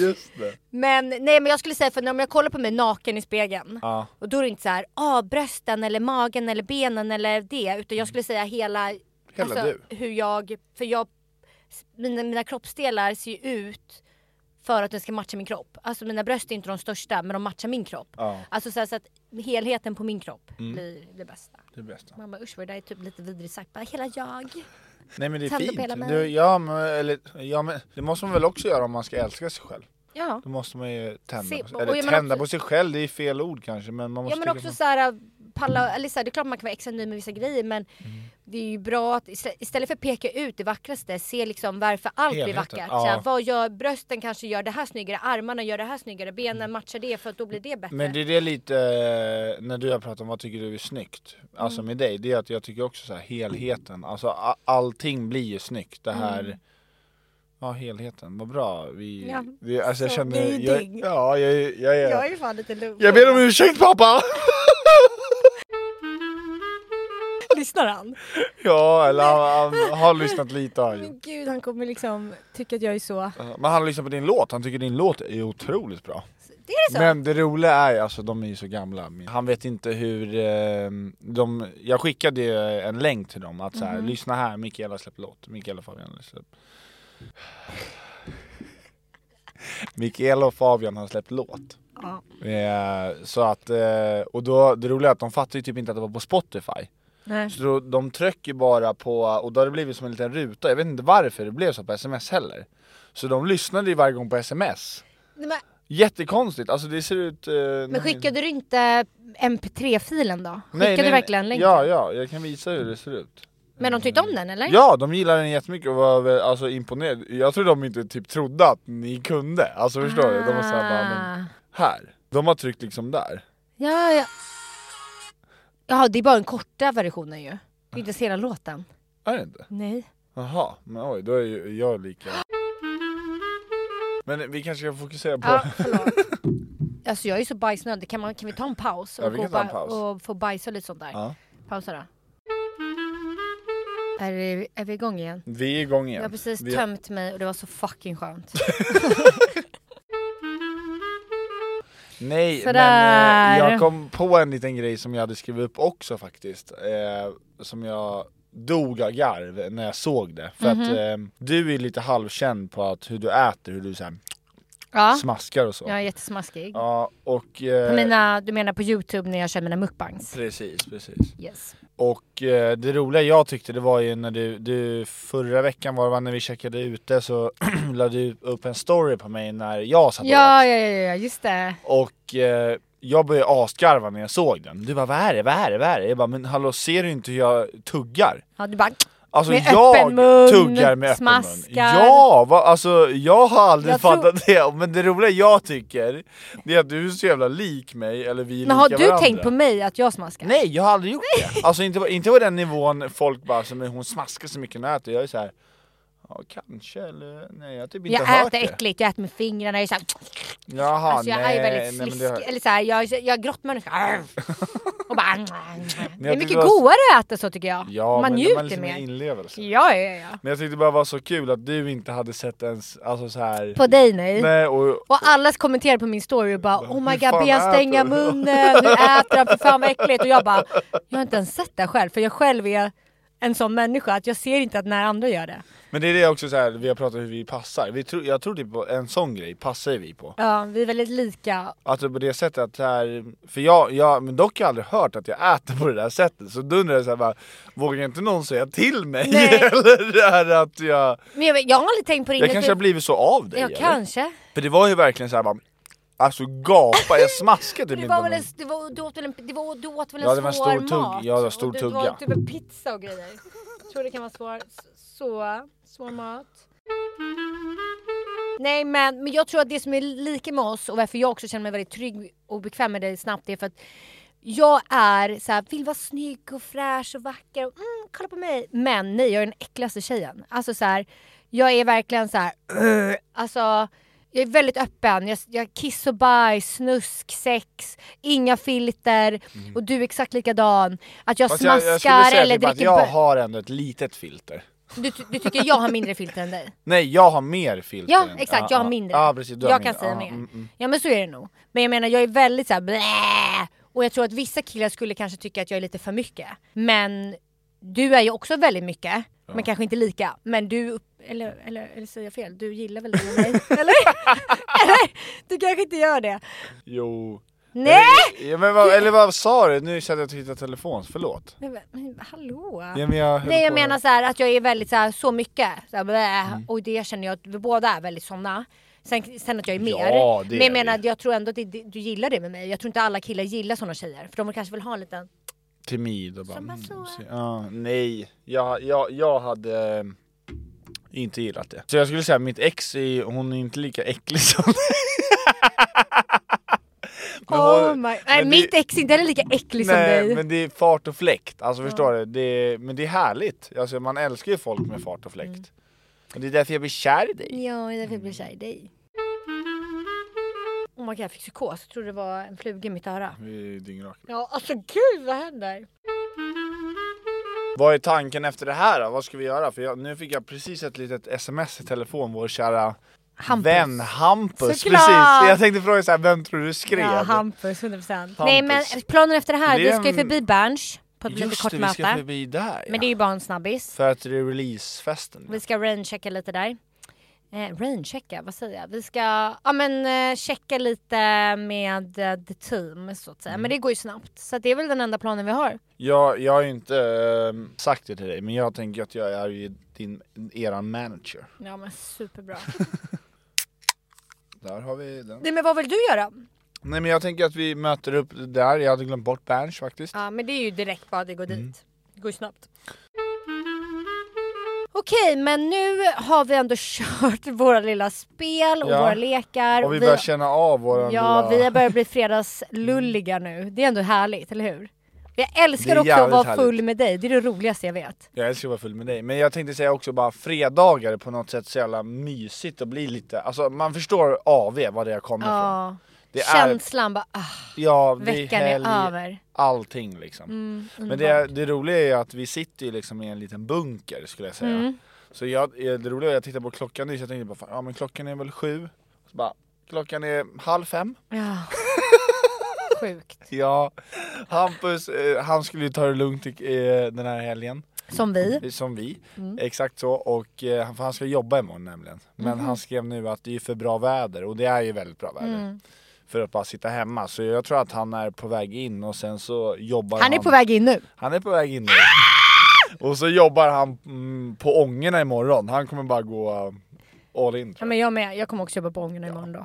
[SPEAKER 2] Just det.
[SPEAKER 3] men nej men jag skulle säga för när- om jag kollar på mig naken i spegeln
[SPEAKER 2] Ja.
[SPEAKER 3] och då är det inte så här, ah, brösten eller magen eller benen eller det utan jag skulle säga hela, alltså,
[SPEAKER 2] Hela du.
[SPEAKER 3] hur jag, för jag, mina, mina kroppsdelar ser ju ut för att den ska matcha min kropp. Alltså mina bröst är inte de största men de matchar min kropp.
[SPEAKER 2] Ja. Mm.
[SPEAKER 3] Alltså så, här, så att helheten på min kropp blir det bästa.
[SPEAKER 2] Det bästa.
[SPEAKER 3] Man bara usch vad det där är typ lite vidrigt sagt. Bara, hela jag.
[SPEAKER 2] Nej men det är
[SPEAKER 3] Tänder på hela
[SPEAKER 2] fint.
[SPEAKER 3] mig.
[SPEAKER 2] Du, ja, men, eller, ja, men, det måste man väl också göra om man ska älska sig själv.
[SPEAKER 3] Ja.
[SPEAKER 2] Då måste man ju tända,
[SPEAKER 3] Se-
[SPEAKER 2] på,
[SPEAKER 3] och
[SPEAKER 2] eller
[SPEAKER 3] jag menar
[SPEAKER 2] tända
[SPEAKER 3] också-
[SPEAKER 2] på sig själv, det är fel ord kanske men man måste Mm.
[SPEAKER 3] Ja men
[SPEAKER 2] tänka
[SPEAKER 3] också
[SPEAKER 2] på-
[SPEAKER 3] så här palla, eller så här, det är klart man kan vara extra nöjd med vissa grejer men
[SPEAKER 2] Mm.
[SPEAKER 3] det är ju bra att istä- istället för att peka ut det vackraste, se liksom varför allt blir
[SPEAKER 2] Helheten,
[SPEAKER 3] vackert.
[SPEAKER 2] ja.
[SPEAKER 3] Så här, vad gör brösten kanske gör det här snyggare, armarna gör det här snyggare, benen matchar det för att då blir det bättre.
[SPEAKER 2] Mm. Men det är det lite, eh, när du har pratat om vad tycker du är snyggt, alltså med dig, det är att jag tycker också så här helheten, alltså a- allting blir ju snyggt. Det här, ja helheten, vad bra. Vi,
[SPEAKER 3] Ja,
[SPEAKER 2] vi alltså jag
[SPEAKER 3] så
[SPEAKER 2] känner, jag,
[SPEAKER 3] bidig.
[SPEAKER 2] ja jag, jag, jag, är-
[SPEAKER 3] ju fan lite lugn.
[SPEAKER 2] jag ber om ursäkt pappa!
[SPEAKER 8] Lyssnar han?
[SPEAKER 2] ja, eller han, han har lyssnat lite har han gjort.
[SPEAKER 8] Men gud han kommer liksom tycka att jag är så...
[SPEAKER 2] Ja, Men han lyssnar på din låt, han tycker din låt är otroligt bra.
[SPEAKER 3] Det är det så?
[SPEAKER 2] Men det roliga är, alltså de är ju så gamla, han vet inte hur eh, de, jag skickade ju en länk till dem att så här, lyssna här, Mikaela släpper låt, Mikaela och Fabian har släppt Mikaela och Fabian har släppt låt. Eh, så att, eh, och då, det roliga är att de fattar ju typ inte att det var på Spotify.
[SPEAKER 8] Nej.
[SPEAKER 2] Så då, de trycker bara på, och då har det blivit som en liten ruta, jag vet inte varför det blev så på sms heller. Så de lyssnade ju varje gång på sms.
[SPEAKER 3] Nej, men,
[SPEAKER 2] Jättekonstigt, alltså det ser ut... eh,
[SPEAKER 3] men
[SPEAKER 2] någonting-
[SPEAKER 3] skickade du inte mp3-filen då? Skickade
[SPEAKER 2] Nej, nej,
[SPEAKER 3] du
[SPEAKER 2] nej.
[SPEAKER 3] verkligen länken?
[SPEAKER 2] Ja, ja, jag kan visa hur det ser ut.
[SPEAKER 3] Men de tyckte om den eller?
[SPEAKER 2] Ja, de gillade den jättemycket och var väl, alltså, imponerade. Jag tror de inte typ trodde att ni kunde, alltså förstår du? De var såhär bara, men
[SPEAKER 3] Ah.
[SPEAKER 2] här. De har tryckt liksom där.
[SPEAKER 3] Ja, ja. Jaha, det är bara den korta versionen ju. Det är inte ens hela låten.
[SPEAKER 2] Är det inte?
[SPEAKER 3] Nej.
[SPEAKER 2] Jaha, men oj, då är ju jag lika... Men vi kanske kan fokusera på...
[SPEAKER 3] Ja, förlåt. Alltså jag är så bajsnödig, kan, man, kan vi ta en paus? Och,
[SPEAKER 2] Ja, vi
[SPEAKER 3] gå
[SPEAKER 2] kan ta en
[SPEAKER 3] ba-
[SPEAKER 2] paus.
[SPEAKER 3] och få bajsa och lite sånt där.
[SPEAKER 2] Ja.
[SPEAKER 3] Pausa då. Är, det- är vi igång igen?
[SPEAKER 2] Vi är igång igen.
[SPEAKER 3] Jag har precis
[SPEAKER 2] vi...
[SPEAKER 3] tömt mig och det var så fucking skönt.
[SPEAKER 2] Nej, men
[SPEAKER 3] Sådär.
[SPEAKER 2] eh, jag kom på en liten grej som jag hade skrivit upp också faktiskt. Eh, som jag dog av garv när jag såg det. För
[SPEAKER 3] Mhm.
[SPEAKER 2] att eh, du är lite halvkänd på att hur du äter, hur du så här
[SPEAKER 3] Ja,
[SPEAKER 2] smaskar och så.
[SPEAKER 3] jag är jättesmaskig.
[SPEAKER 2] Ja, och...
[SPEAKER 3] På
[SPEAKER 2] Eh,
[SPEAKER 3] mina, du menar på youtube när jag kör mina mukbangs?
[SPEAKER 2] Precis, precis.
[SPEAKER 3] Yes.
[SPEAKER 2] Och eh, det roliga jag tyckte det var ju när du, du förra veckan var det va, när vi checkade ute så la du upp en story på mig när jag satt och åt.
[SPEAKER 3] Ja, ja, ja, ja, just det.
[SPEAKER 2] Och eh, jag började asgarva när jag såg den. Du bara vad är det, vad är det, vad är det? Jag bara men hallå ser du inte hur jag tuggar?
[SPEAKER 3] Ja, du bara...
[SPEAKER 2] Alltså
[SPEAKER 3] Med
[SPEAKER 2] jag
[SPEAKER 3] öppen mun,
[SPEAKER 2] tuggar med öppen mun.
[SPEAKER 3] smaskar.
[SPEAKER 2] Ja, va? alltså jag har aldrig
[SPEAKER 3] Jag tror-
[SPEAKER 2] fattat det. Men det roliga jag tycker, det är att du är så jävla lik mig, eller vi är
[SPEAKER 3] Men har
[SPEAKER 2] lika
[SPEAKER 3] du
[SPEAKER 2] varandra.
[SPEAKER 3] tänkt på mig att jag smaskar?
[SPEAKER 2] Nej, jag har aldrig gjort det. Alltså inte, på- inte på den nivån folk bara, som hon smaskar så mycket när hon äter. Jag är så här. Ja kanske eller nej jag har typ inte
[SPEAKER 3] Jag
[SPEAKER 2] hört
[SPEAKER 3] äter
[SPEAKER 2] det.
[SPEAKER 3] äckligt, jag äter med fingrarna, jag är såhär,
[SPEAKER 2] Jaha,
[SPEAKER 3] alltså jag
[SPEAKER 2] nej,
[SPEAKER 3] är väldigt
[SPEAKER 2] nej, men
[SPEAKER 3] sliskig,
[SPEAKER 2] det har-
[SPEAKER 3] eller såhär, jag, jag är grottmänniska. Arr. Och bara, det är
[SPEAKER 2] jag
[SPEAKER 3] mycket
[SPEAKER 2] tycker det var-
[SPEAKER 3] godare att äta så tycker jag.
[SPEAKER 2] Ja,
[SPEAKER 3] man
[SPEAKER 2] men
[SPEAKER 3] njuter
[SPEAKER 2] de har liksom en
[SPEAKER 3] mer.
[SPEAKER 2] inlevelse.
[SPEAKER 3] Ja, ja, ja.
[SPEAKER 2] Men jag tyckte det bara var så kul att du inte hade sett ens, alltså så här.
[SPEAKER 3] På dig nej.
[SPEAKER 2] Nej, och,
[SPEAKER 3] Och alla kommenterade på min story och bara oh my
[SPEAKER 2] Hur
[SPEAKER 3] god,
[SPEAKER 2] fan
[SPEAKER 3] be han stänga
[SPEAKER 2] äter du?"
[SPEAKER 3] munnen, nu äter han, för fan vad äckligt. Och jag bara, jag har inte ens sett det själv för jag själv är en sån människa att jag ser inte att när andra gör det.
[SPEAKER 2] men det är det också så här, vi har pratat om hur vi passar. Vi tror, jag tror typ på en sån grej passar ju vi på.
[SPEAKER 3] Ja, vi är väldigt lika.
[SPEAKER 2] Alltså på det sättet att det här, för jag, jag men dock har jag aldrig hört att jag äter på det där sättet. Så då undrar jag så här, bara, vågar inte någon säga till mig?
[SPEAKER 3] Nej.
[SPEAKER 2] eller det här att jag,
[SPEAKER 3] Men jag, jag har aldrig tänkt på det
[SPEAKER 2] jag
[SPEAKER 3] innan,
[SPEAKER 2] kanske har
[SPEAKER 3] för-
[SPEAKER 2] blivit så av dig?
[SPEAKER 3] Ja,
[SPEAKER 2] eller?
[SPEAKER 3] kanske.
[SPEAKER 2] För det var ju verkligen så här, bara, alltså gapa, jag smaskade
[SPEAKER 3] Det
[SPEAKER 2] typ
[SPEAKER 3] var
[SPEAKER 2] inte
[SPEAKER 3] väl en,
[SPEAKER 2] om-
[SPEAKER 3] det var, du åt väl en, det var, du åt väl en
[SPEAKER 2] Ja, det var en
[SPEAKER 3] svår
[SPEAKER 2] stor tugg-
[SPEAKER 3] mat?
[SPEAKER 2] ja, det var stor
[SPEAKER 3] och du,
[SPEAKER 2] tugga.
[SPEAKER 3] åt typ en pizza och grejer. Jag tror det kan vara svår, så, svår mat. Nej men, men jag tror att det som är lika med oss och varför jag också känner mig väldigt trygg och bekväm med dig snabbt är för att jag är så här, vill vara snygg och fräsch och vacker och mm, kolla på mig. Men nej, jag är den äckligaste tjejen. Alltså så här, jag är verkligen så här, "Ugh." alltså jag är väldigt öppen. Jag, jag kiss och bajs, snusk, sex, inga filter och du är exakt likadan. Att jag
[SPEAKER 2] Mm. Fast jag,
[SPEAKER 3] smaskar
[SPEAKER 2] jag skulle säga
[SPEAKER 3] eller
[SPEAKER 2] typ att
[SPEAKER 3] dricker
[SPEAKER 2] jag
[SPEAKER 3] bö-
[SPEAKER 2] har ändå ett litet filter.
[SPEAKER 3] du, ty- du tycker jag har mindre filter än dig?
[SPEAKER 2] Nej, jag har mer filter.
[SPEAKER 3] Ja
[SPEAKER 2] än-
[SPEAKER 3] exakt, jag har mindre.
[SPEAKER 2] Typ. Ja, precis, du har
[SPEAKER 3] jag
[SPEAKER 2] mindre.
[SPEAKER 3] kan säga
[SPEAKER 2] Ja,
[SPEAKER 3] mer.
[SPEAKER 2] mm, mm.
[SPEAKER 3] Ja men så är det nog. Men jag menar jag är väldigt såhär blä! Och jag tror att vissa killar skulle kanske tycka att jag är lite för mycket. Men du är ju också väldigt mycket. Men kanske inte lika. Men du, eller, eller, eller säger jag fel? Du gillar väl det med mig? eller? eller? Du kanske inte gör det?
[SPEAKER 2] Jo.
[SPEAKER 3] Nej!
[SPEAKER 2] Ja, men vad, eller vad sa du? Nu satt jag och tittade telefon, förlåt.
[SPEAKER 3] Men, men hallå?
[SPEAKER 2] Ja, men jag höll
[SPEAKER 3] Nej jag
[SPEAKER 2] på- Mm.
[SPEAKER 3] menar så här att jag är väldigt så här, så mycket, så här, blä, och det känner jag att vi båda är väldigt såna. Sen, sen att jag är
[SPEAKER 2] Ja,
[SPEAKER 3] mer.
[SPEAKER 2] det
[SPEAKER 3] men
[SPEAKER 2] är
[SPEAKER 3] jag menar
[SPEAKER 2] vi.
[SPEAKER 3] att jag tror ändå att det, det, du gillar det med mig. Jag tror inte alla killar gillar såna tjejer. För de kanske vill ha en liten
[SPEAKER 2] timid och bara...
[SPEAKER 3] Som bara
[SPEAKER 2] mm,
[SPEAKER 3] så.
[SPEAKER 2] så- ja, nej, jag, jag, jag hade eh, inte gillat det. Så jag skulle säga mitt ex, är, hon är inte lika äcklig som Men
[SPEAKER 3] Oh
[SPEAKER 2] hon-
[SPEAKER 3] my... Nej,
[SPEAKER 2] men
[SPEAKER 3] mitt
[SPEAKER 2] det-
[SPEAKER 3] ex är inte heller lika äcklig som
[SPEAKER 2] Nej,
[SPEAKER 3] Liksom dig.
[SPEAKER 2] men det är fart och fläkt. Alltså förstår du? Det är, men det är härligt. Alltså, man älskar ju folk med fart och
[SPEAKER 3] Mm.
[SPEAKER 2] fläkt. Och det är därför jag blir kär i dig.
[SPEAKER 3] Ja, det är därför jag blir kär i dig. Oh my god, jag fick psykos. Jag trodde det var en fluga i mitt öra.
[SPEAKER 2] Vi är dyngraka.
[SPEAKER 3] Ja, alltså gud vad händer?
[SPEAKER 2] Vad är tanken efter det här då? Vad ska vi göra? För jag, nu fick jag precis ett litet sms i telefon, vår kära
[SPEAKER 3] Hampus.
[SPEAKER 2] vän Hampus.
[SPEAKER 3] Såklart!
[SPEAKER 2] Precis! Jag tänkte fråga så här, vem tror du skrev?
[SPEAKER 8] Ja, Hampus, 100%.
[SPEAKER 3] Nej men
[SPEAKER 2] Hampus.
[SPEAKER 3] planen efter det här,
[SPEAKER 2] Det
[SPEAKER 3] vi
[SPEAKER 2] är
[SPEAKER 3] ska ju
[SPEAKER 2] en-
[SPEAKER 3] förbi Berns på ett litet
[SPEAKER 2] Just
[SPEAKER 3] kort
[SPEAKER 2] det, vi
[SPEAKER 3] möte.
[SPEAKER 2] ska förbi där ja.
[SPEAKER 3] Men det är ju bara en snabbis.
[SPEAKER 2] För att det är releasefesten.
[SPEAKER 3] Vi ska rainchecka lite där. Eh, rainchecka, vad säger jag? Vi ska ja, men, eh, checka lite med eh, the team så att säga.
[SPEAKER 2] Mm.
[SPEAKER 3] Men det går ju snabbt. Så att det är väl den enda planen vi har.
[SPEAKER 2] Jag, jag har ju inte ehm, sagt det till dig, men jag tänker att jag är ju din, eran manager.
[SPEAKER 3] Ja men superbra.
[SPEAKER 2] Där har vi den.
[SPEAKER 3] Nej men vad vill du göra?
[SPEAKER 2] Nej men jag tänker att vi möter upp där, jag hade glömt bort Berns faktiskt.
[SPEAKER 3] Ja men det är ju direkt bara det går
[SPEAKER 2] Mm.
[SPEAKER 3] dit. Det går ju snabbt. Okej men nu har vi ändå kört våra lilla spel och
[SPEAKER 2] Ja.
[SPEAKER 3] våra lekar.
[SPEAKER 2] Och vi börjar känna av våran
[SPEAKER 3] Ja, vi
[SPEAKER 2] lilla...
[SPEAKER 3] har börjat bli fredagslulliga nu. Det är ändå härligt, eller hur? Jag älskar
[SPEAKER 2] Det är
[SPEAKER 3] också att
[SPEAKER 2] jävligt
[SPEAKER 3] vara
[SPEAKER 2] härligt.
[SPEAKER 3] full med dig, det är det roligaste jag vet.
[SPEAKER 2] Jag älskar att vara full med dig, men jag tänkte säga också bara fredagar är på något sätt så jävla mysigt och bli lite, alltså man förstår AV vad det kommer ifrån.
[SPEAKER 3] Ja,
[SPEAKER 2] Det är,
[SPEAKER 3] känslan bara, ah,
[SPEAKER 2] ja, det är
[SPEAKER 3] veckan
[SPEAKER 2] helg,
[SPEAKER 3] är över. Mm,
[SPEAKER 2] allting liksom. Men det, det roliga är ju att vi sitter ju liksom i en liten bunker skulle jag säga.
[SPEAKER 3] Mm.
[SPEAKER 2] Så jag, det roliga är att jag tittar på klockan nu så jag tänkte bara, fan, ja men klockan är väl sju. Så bara, klockan är halv fem.
[SPEAKER 3] Ja. Sjukt.
[SPEAKER 2] Ja, Hampus, eh, han skulle ju ta det lugnt i, eh, den här helgen,
[SPEAKER 3] Som vi.
[SPEAKER 2] som vi.
[SPEAKER 3] Mm.
[SPEAKER 2] Exakt så, och eh, han- för han ska jobba imorgon nämligen. Men
[SPEAKER 3] Mhm.
[SPEAKER 2] han skrev nu att det är för bra väder, och det är ju väldigt bra väder.
[SPEAKER 3] Mm.
[SPEAKER 2] För att bara sitta hemma, så jag tror att han är på väg in och sen så jobbar han
[SPEAKER 3] Han är på väg in nu.
[SPEAKER 2] Han är på väg in nu. Och så jobbar han mm, på ångorna imorgon, han kommer bara gå eh, all in
[SPEAKER 3] Ja,
[SPEAKER 2] tror jag.
[SPEAKER 3] men jag med, jag kommer också jobba på Ångerna imorgon då.
[SPEAKER 2] Eh.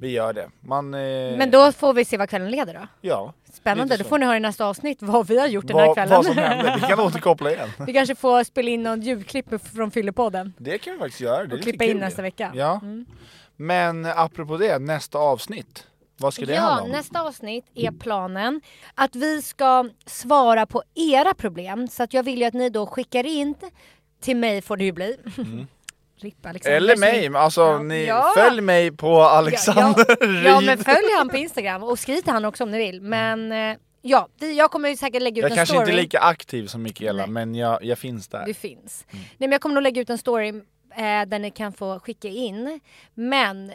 [SPEAKER 2] Vi gör det. Man, eh,
[SPEAKER 3] Men då får vi se vad kvällen leder då.
[SPEAKER 2] ja,
[SPEAKER 3] Spännande,
[SPEAKER 2] lite
[SPEAKER 3] då
[SPEAKER 2] så.
[SPEAKER 3] får ni höra i nästa avsnitt vad vi har gjort den här
[SPEAKER 2] vad,
[SPEAKER 3] kvällen.
[SPEAKER 2] vad som hände, vi kan återkoppla igen.
[SPEAKER 3] vi kanske får spela in någon ljudklipp från Fyllepodden.
[SPEAKER 2] Det kan vi faktiskt göra. Det är
[SPEAKER 3] Och
[SPEAKER 2] lite
[SPEAKER 3] klippa
[SPEAKER 2] kul
[SPEAKER 3] in
[SPEAKER 2] ju.
[SPEAKER 3] nästa vecka. Mm.
[SPEAKER 2] Ja. Men apropå det, nästa avsnitt. Vad ska det handla
[SPEAKER 3] Ja,
[SPEAKER 2] om?
[SPEAKER 3] nästa avsnitt är planen att vi ska svara på era problem. Så att jag vill ju att ni då skickar in till mig får det ju bli. Ripp Alexander.
[SPEAKER 2] Mm. Eller mig, men alltså
[SPEAKER 3] Ja.
[SPEAKER 2] ni,
[SPEAKER 3] Ja.
[SPEAKER 2] följ mig på Alexander
[SPEAKER 3] Ja, ja, ja
[SPEAKER 2] Ryd.
[SPEAKER 3] men följ han på Instagram och skriv till han också om ni vill. Men eh, ja, det, jag kommer ju säkert lägga ut
[SPEAKER 2] Mm. Jag
[SPEAKER 3] en
[SPEAKER 2] kanske
[SPEAKER 3] story.
[SPEAKER 2] inte är lika aktiv som Mikaela,
[SPEAKER 3] Nej.
[SPEAKER 2] men jag, jag finns där.
[SPEAKER 3] Det finns.
[SPEAKER 2] Mm.
[SPEAKER 3] Nej men jag kommer nog lägga ut en story eh, där ni kan få skicka in. Men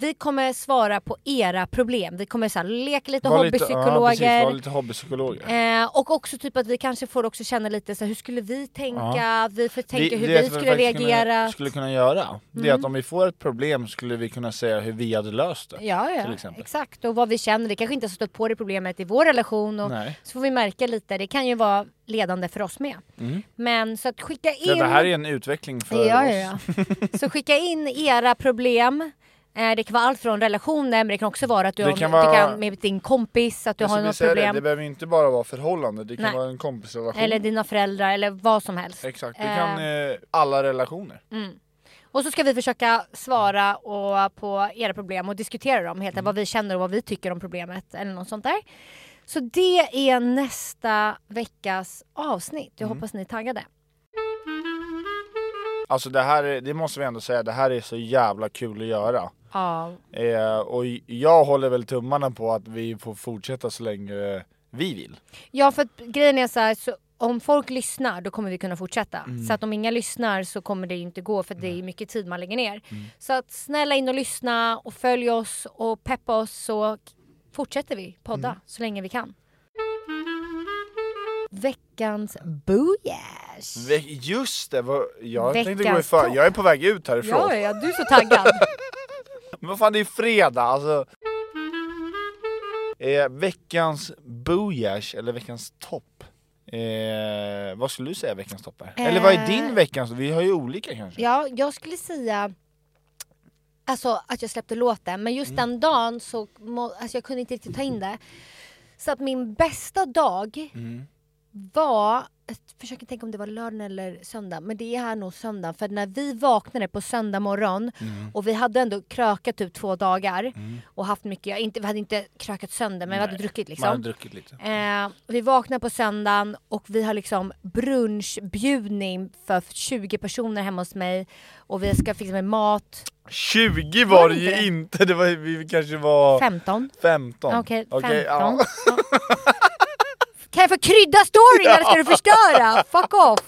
[SPEAKER 3] vi kommer svara på era problem. Vi kommer så här, leka lite
[SPEAKER 2] Var lite- Ja, precis,
[SPEAKER 3] hobbypsykologer.
[SPEAKER 2] var lite hobbypsykologer.
[SPEAKER 3] Eh, och också typ att vi kanske får också känna lite så här, hur skulle vi tänka, vi får tänka
[SPEAKER 2] vet
[SPEAKER 3] hur vi
[SPEAKER 2] vad
[SPEAKER 3] skulle
[SPEAKER 2] faktiskt
[SPEAKER 3] reagera. Mm.
[SPEAKER 2] Kunna, skulle kunna göra, det är att om vi får ett problem skulle vi kunna säga hur vi hade löst det.
[SPEAKER 3] Ja,
[SPEAKER 2] till
[SPEAKER 3] ja.
[SPEAKER 2] exempel.
[SPEAKER 3] exakt. Och vad vi känner. Vi kanske inte har stött på det problemet i vår relation. Och
[SPEAKER 2] Nej.
[SPEAKER 3] så får vi märka lite. Det kan ju vara ledande för oss med. Men så att skicka in...
[SPEAKER 2] Mm. Det här är en utveckling för
[SPEAKER 3] ja,
[SPEAKER 2] oss.
[SPEAKER 3] ja, ja. Så skicka in era problem. Eh, Det kan vara allt från relationer, men det kan också vara att du
[SPEAKER 2] Det
[SPEAKER 3] har
[SPEAKER 2] kan
[SPEAKER 3] det
[SPEAKER 2] vara-
[SPEAKER 3] kan, med din kompis, att du
[SPEAKER 2] Jag
[SPEAKER 3] har
[SPEAKER 2] skulle
[SPEAKER 3] något
[SPEAKER 2] säga
[SPEAKER 3] problem.
[SPEAKER 2] det, det behöver inte bara vara förhållande, det kan
[SPEAKER 3] Nej.
[SPEAKER 2] vara en kompisrelation.
[SPEAKER 3] Eller dina föräldrar, eller vad som helst.
[SPEAKER 2] Exakt, det kan eh, alla relationer.
[SPEAKER 3] mm. Och så ska vi försöka svara och, på era problem och diskutera dem, helt enkelt vad vi känner och vad vi tycker om problemet eller något sånt där. Så det är nästa veckas avsnitt. Jag hoppas ni är taggade.
[SPEAKER 2] Alltså det här, är- det måste vi ändå säga, det här är så jävla kul att göra.
[SPEAKER 3] Ja,
[SPEAKER 2] Eh, och j- jag håller väl tummarna på att vi får fortsätta så länge eh, vi vill.
[SPEAKER 3] ja för att grejen är så här, så om folk lyssnar då kommer vi kunna fortsätta. Så att om inga lyssnar så kommer det ju inte gå för det är mycket tid man lägger ner. Så att snälla in och lyssna och följ oss och peppa oss så fortsätter vi podda så länge vi kan. Veckans booyash!
[SPEAKER 2] Ve- Just det, vad, jag tänkte gå i
[SPEAKER 3] Veckans
[SPEAKER 2] för,
[SPEAKER 3] topp.
[SPEAKER 2] jag är på väg ut härifrån.
[SPEAKER 3] Ja, ja, du är så taggad.
[SPEAKER 2] Men vad fan det är ju fredag alltså. Eh, veckans booyash eller veckans topp. Eh, vad skulle du säga veckans topp är? Eller vad är din
[SPEAKER 3] Eh.
[SPEAKER 2] veckans? Vi har ju olika kanske.
[SPEAKER 3] ja, jag skulle säga alltså, att jag släppte låten, men
[SPEAKER 2] Mm.
[SPEAKER 3] just den dagen
[SPEAKER 2] Mm.
[SPEAKER 3] så må, alltså, jag kunde inte riktigt ta in det. Så att min bästa dag var, jag försöker tänka om det var lördagen eller söndag, men det är nog söndag för när vi vaknade på söndag morgon
[SPEAKER 2] Mm.
[SPEAKER 3] och vi hade ändå krökat typ två dagar och haft mycket, ja, inte, vi hade inte krökat sönder men vi hade
[SPEAKER 2] Nej,
[SPEAKER 3] druckit
[SPEAKER 2] Man har
[SPEAKER 3] liksom.
[SPEAKER 2] druckit lite.
[SPEAKER 3] Eh, vi vaknar på söndagen och vi har liksom brunchbjudning för 20 personer hemma hos mig och vi ska fixa med mat.
[SPEAKER 2] 20
[SPEAKER 3] Var
[SPEAKER 2] var
[SPEAKER 3] det
[SPEAKER 2] det
[SPEAKER 3] inte det?
[SPEAKER 2] ju inte, det var, vi kanske var
[SPEAKER 3] 15.
[SPEAKER 2] 15.
[SPEAKER 3] Okej,
[SPEAKER 2] ja.
[SPEAKER 3] 15. Kan jag få krydda storyn eller ska du förstöra? Fuck off!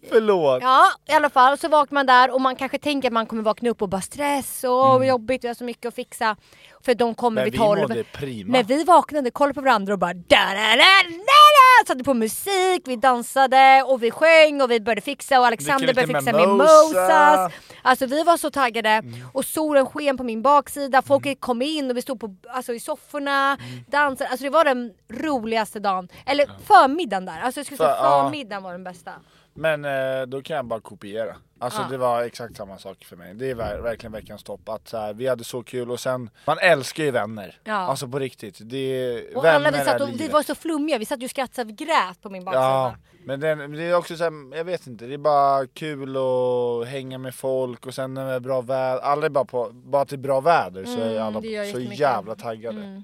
[SPEAKER 2] Förlåt.
[SPEAKER 3] Ja, i alla fall så vaknar man där och man kanske tänker att man kommer vakna upp och bara stress och mm. jobbigt, vi har så mycket att fixa. För de kommer
[SPEAKER 2] Men
[SPEAKER 3] vid
[SPEAKER 2] vi
[SPEAKER 3] tolv.
[SPEAKER 2] mådde prima.
[SPEAKER 3] Men vi vaknade, kollade på varandra och bara da, da, da, da, da. Satte på musik, vi dansade och vi sjöng och vi började fixa och Alexander
[SPEAKER 2] lite
[SPEAKER 3] började fixa
[SPEAKER 2] mimosa.
[SPEAKER 3] mimosas. Alltså vi var så taggade
[SPEAKER 2] Mm.
[SPEAKER 3] och solen sken på min baksida, folk kom in och vi stod på, alltså, i sofforna,
[SPEAKER 2] Mm.
[SPEAKER 3] dansade. Alltså det var den roligaste dagen. Eller förmiddagen där, alltså jag skulle säga
[SPEAKER 2] För- ja.
[SPEAKER 3] förmiddagen var den bästa.
[SPEAKER 2] Men eh, då kan jag bara kopiera. Alltså
[SPEAKER 3] Ja.
[SPEAKER 2] det var exakt samma sak för mig. Det är ver- verkligen veckans topp. Att så här, vi hade så kul och sen, man älskar ju vänner.
[SPEAKER 3] Ja.
[SPEAKER 2] Alltså på riktigt. Det,
[SPEAKER 3] Och
[SPEAKER 2] vänner
[SPEAKER 3] alla vi satt
[SPEAKER 2] är
[SPEAKER 3] och, vi
[SPEAKER 2] livet.
[SPEAKER 3] var så flummiga, vi satt ju och skrattade, vi grät på min baksida.
[SPEAKER 2] Ja, men den, det är också så här, jag vet inte, det är bara kul att hänga med folk och sen när det är bra väder, alla är bara på, bara till bra väder så är alla
[SPEAKER 3] Mm, det gör
[SPEAKER 2] så
[SPEAKER 3] jättemycket. Mm.
[SPEAKER 2] jävla taggade.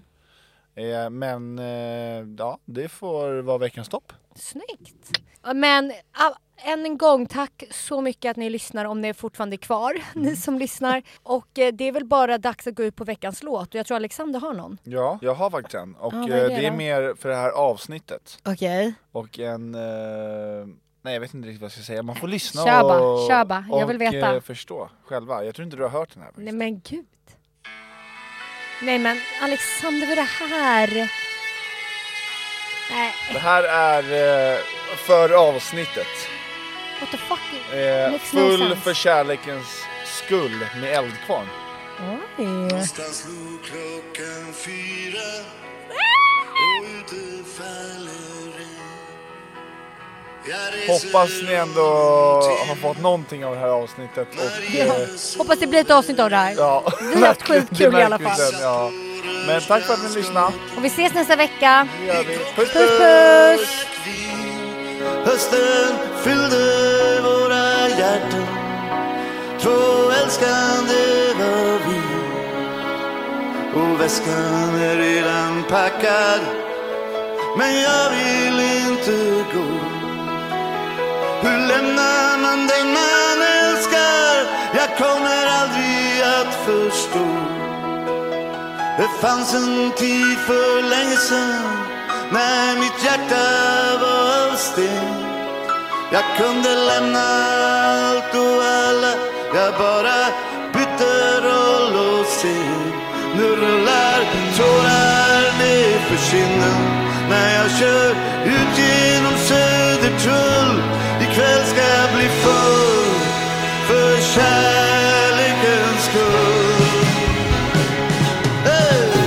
[SPEAKER 2] Eh, men eh, ja, det får vara veckans topp.
[SPEAKER 3] Snyggt! Men ah, än en gång, tack så mycket att ni lyssnar om ni är fortfarande kvar,
[SPEAKER 2] Mm.
[SPEAKER 3] ni som lyssnar. Och eh, det är väl bara dags att gå ut på veckans låt och jag tror Alexander har någon.
[SPEAKER 2] Ja, jag har faktiskt en och
[SPEAKER 3] Ja, vad är
[SPEAKER 2] eh,
[SPEAKER 3] det
[SPEAKER 2] det är
[SPEAKER 3] då?
[SPEAKER 2] mer för det här avsnittet.
[SPEAKER 3] Okej.
[SPEAKER 2] Och en... Eh, nej jag vet inte riktigt vad jag ska säga, man får lyssna
[SPEAKER 3] Kör bara,
[SPEAKER 2] och,
[SPEAKER 3] kör bara. Jag vill
[SPEAKER 2] och,
[SPEAKER 3] veta.
[SPEAKER 2] eh, förstå själva. Jag tror inte du har hört den här.
[SPEAKER 3] Nej
[SPEAKER 2] faktiskt.
[SPEAKER 3] men gud. Nej men Alexander, vad är det här? Nej,
[SPEAKER 2] Det här är eh, för avsnittet.
[SPEAKER 3] what the fuck?
[SPEAKER 2] Eh,
[SPEAKER 3] Makes no
[SPEAKER 2] full
[SPEAKER 3] sense.
[SPEAKER 2] för kärlekens skull med Eldkvarn.
[SPEAKER 3] Oj.
[SPEAKER 4] Någonstans slog klockan fyra och ute faller en.
[SPEAKER 2] Hoppas ni ändå har fått någonting av det här avsnittet och eh,
[SPEAKER 3] Hoppas det blir ett avsnitt av det här.
[SPEAKER 2] ja.
[SPEAKER 3] Vi har haft sjukt kul i alla
[SPEAKER 2] Det märker vi
[SPEAKER 3] fall.
[SPEAKER 2] sen, Ja. Men tack för att ni lyssnade.
[SPEAKER 3] Och vi ses nästa vecka.
[SPEAKER 2] Det gör vi. Puss
[SPEAKER 3] Puss
[SPEAKER 2] puss!
[SPEAKER 3] puss!
[SPEAKER 4] Hösten fyllde våra hjärtan Två älskande var vi Och väskan är redan packad Men jag vill inte gå Hur lämnar man den man älskar? Jag kommer aldrig att förstå det fanns en tid för länge sedan när mitt hjärta var av sten. Jag kunde lämna allt och alla, jag bara bytte roll och scen. Nu rullar tårar ner för kinden när jag kör ut genom Södertull. Ikväll ska jag bli full för kärlekens skull. Hey!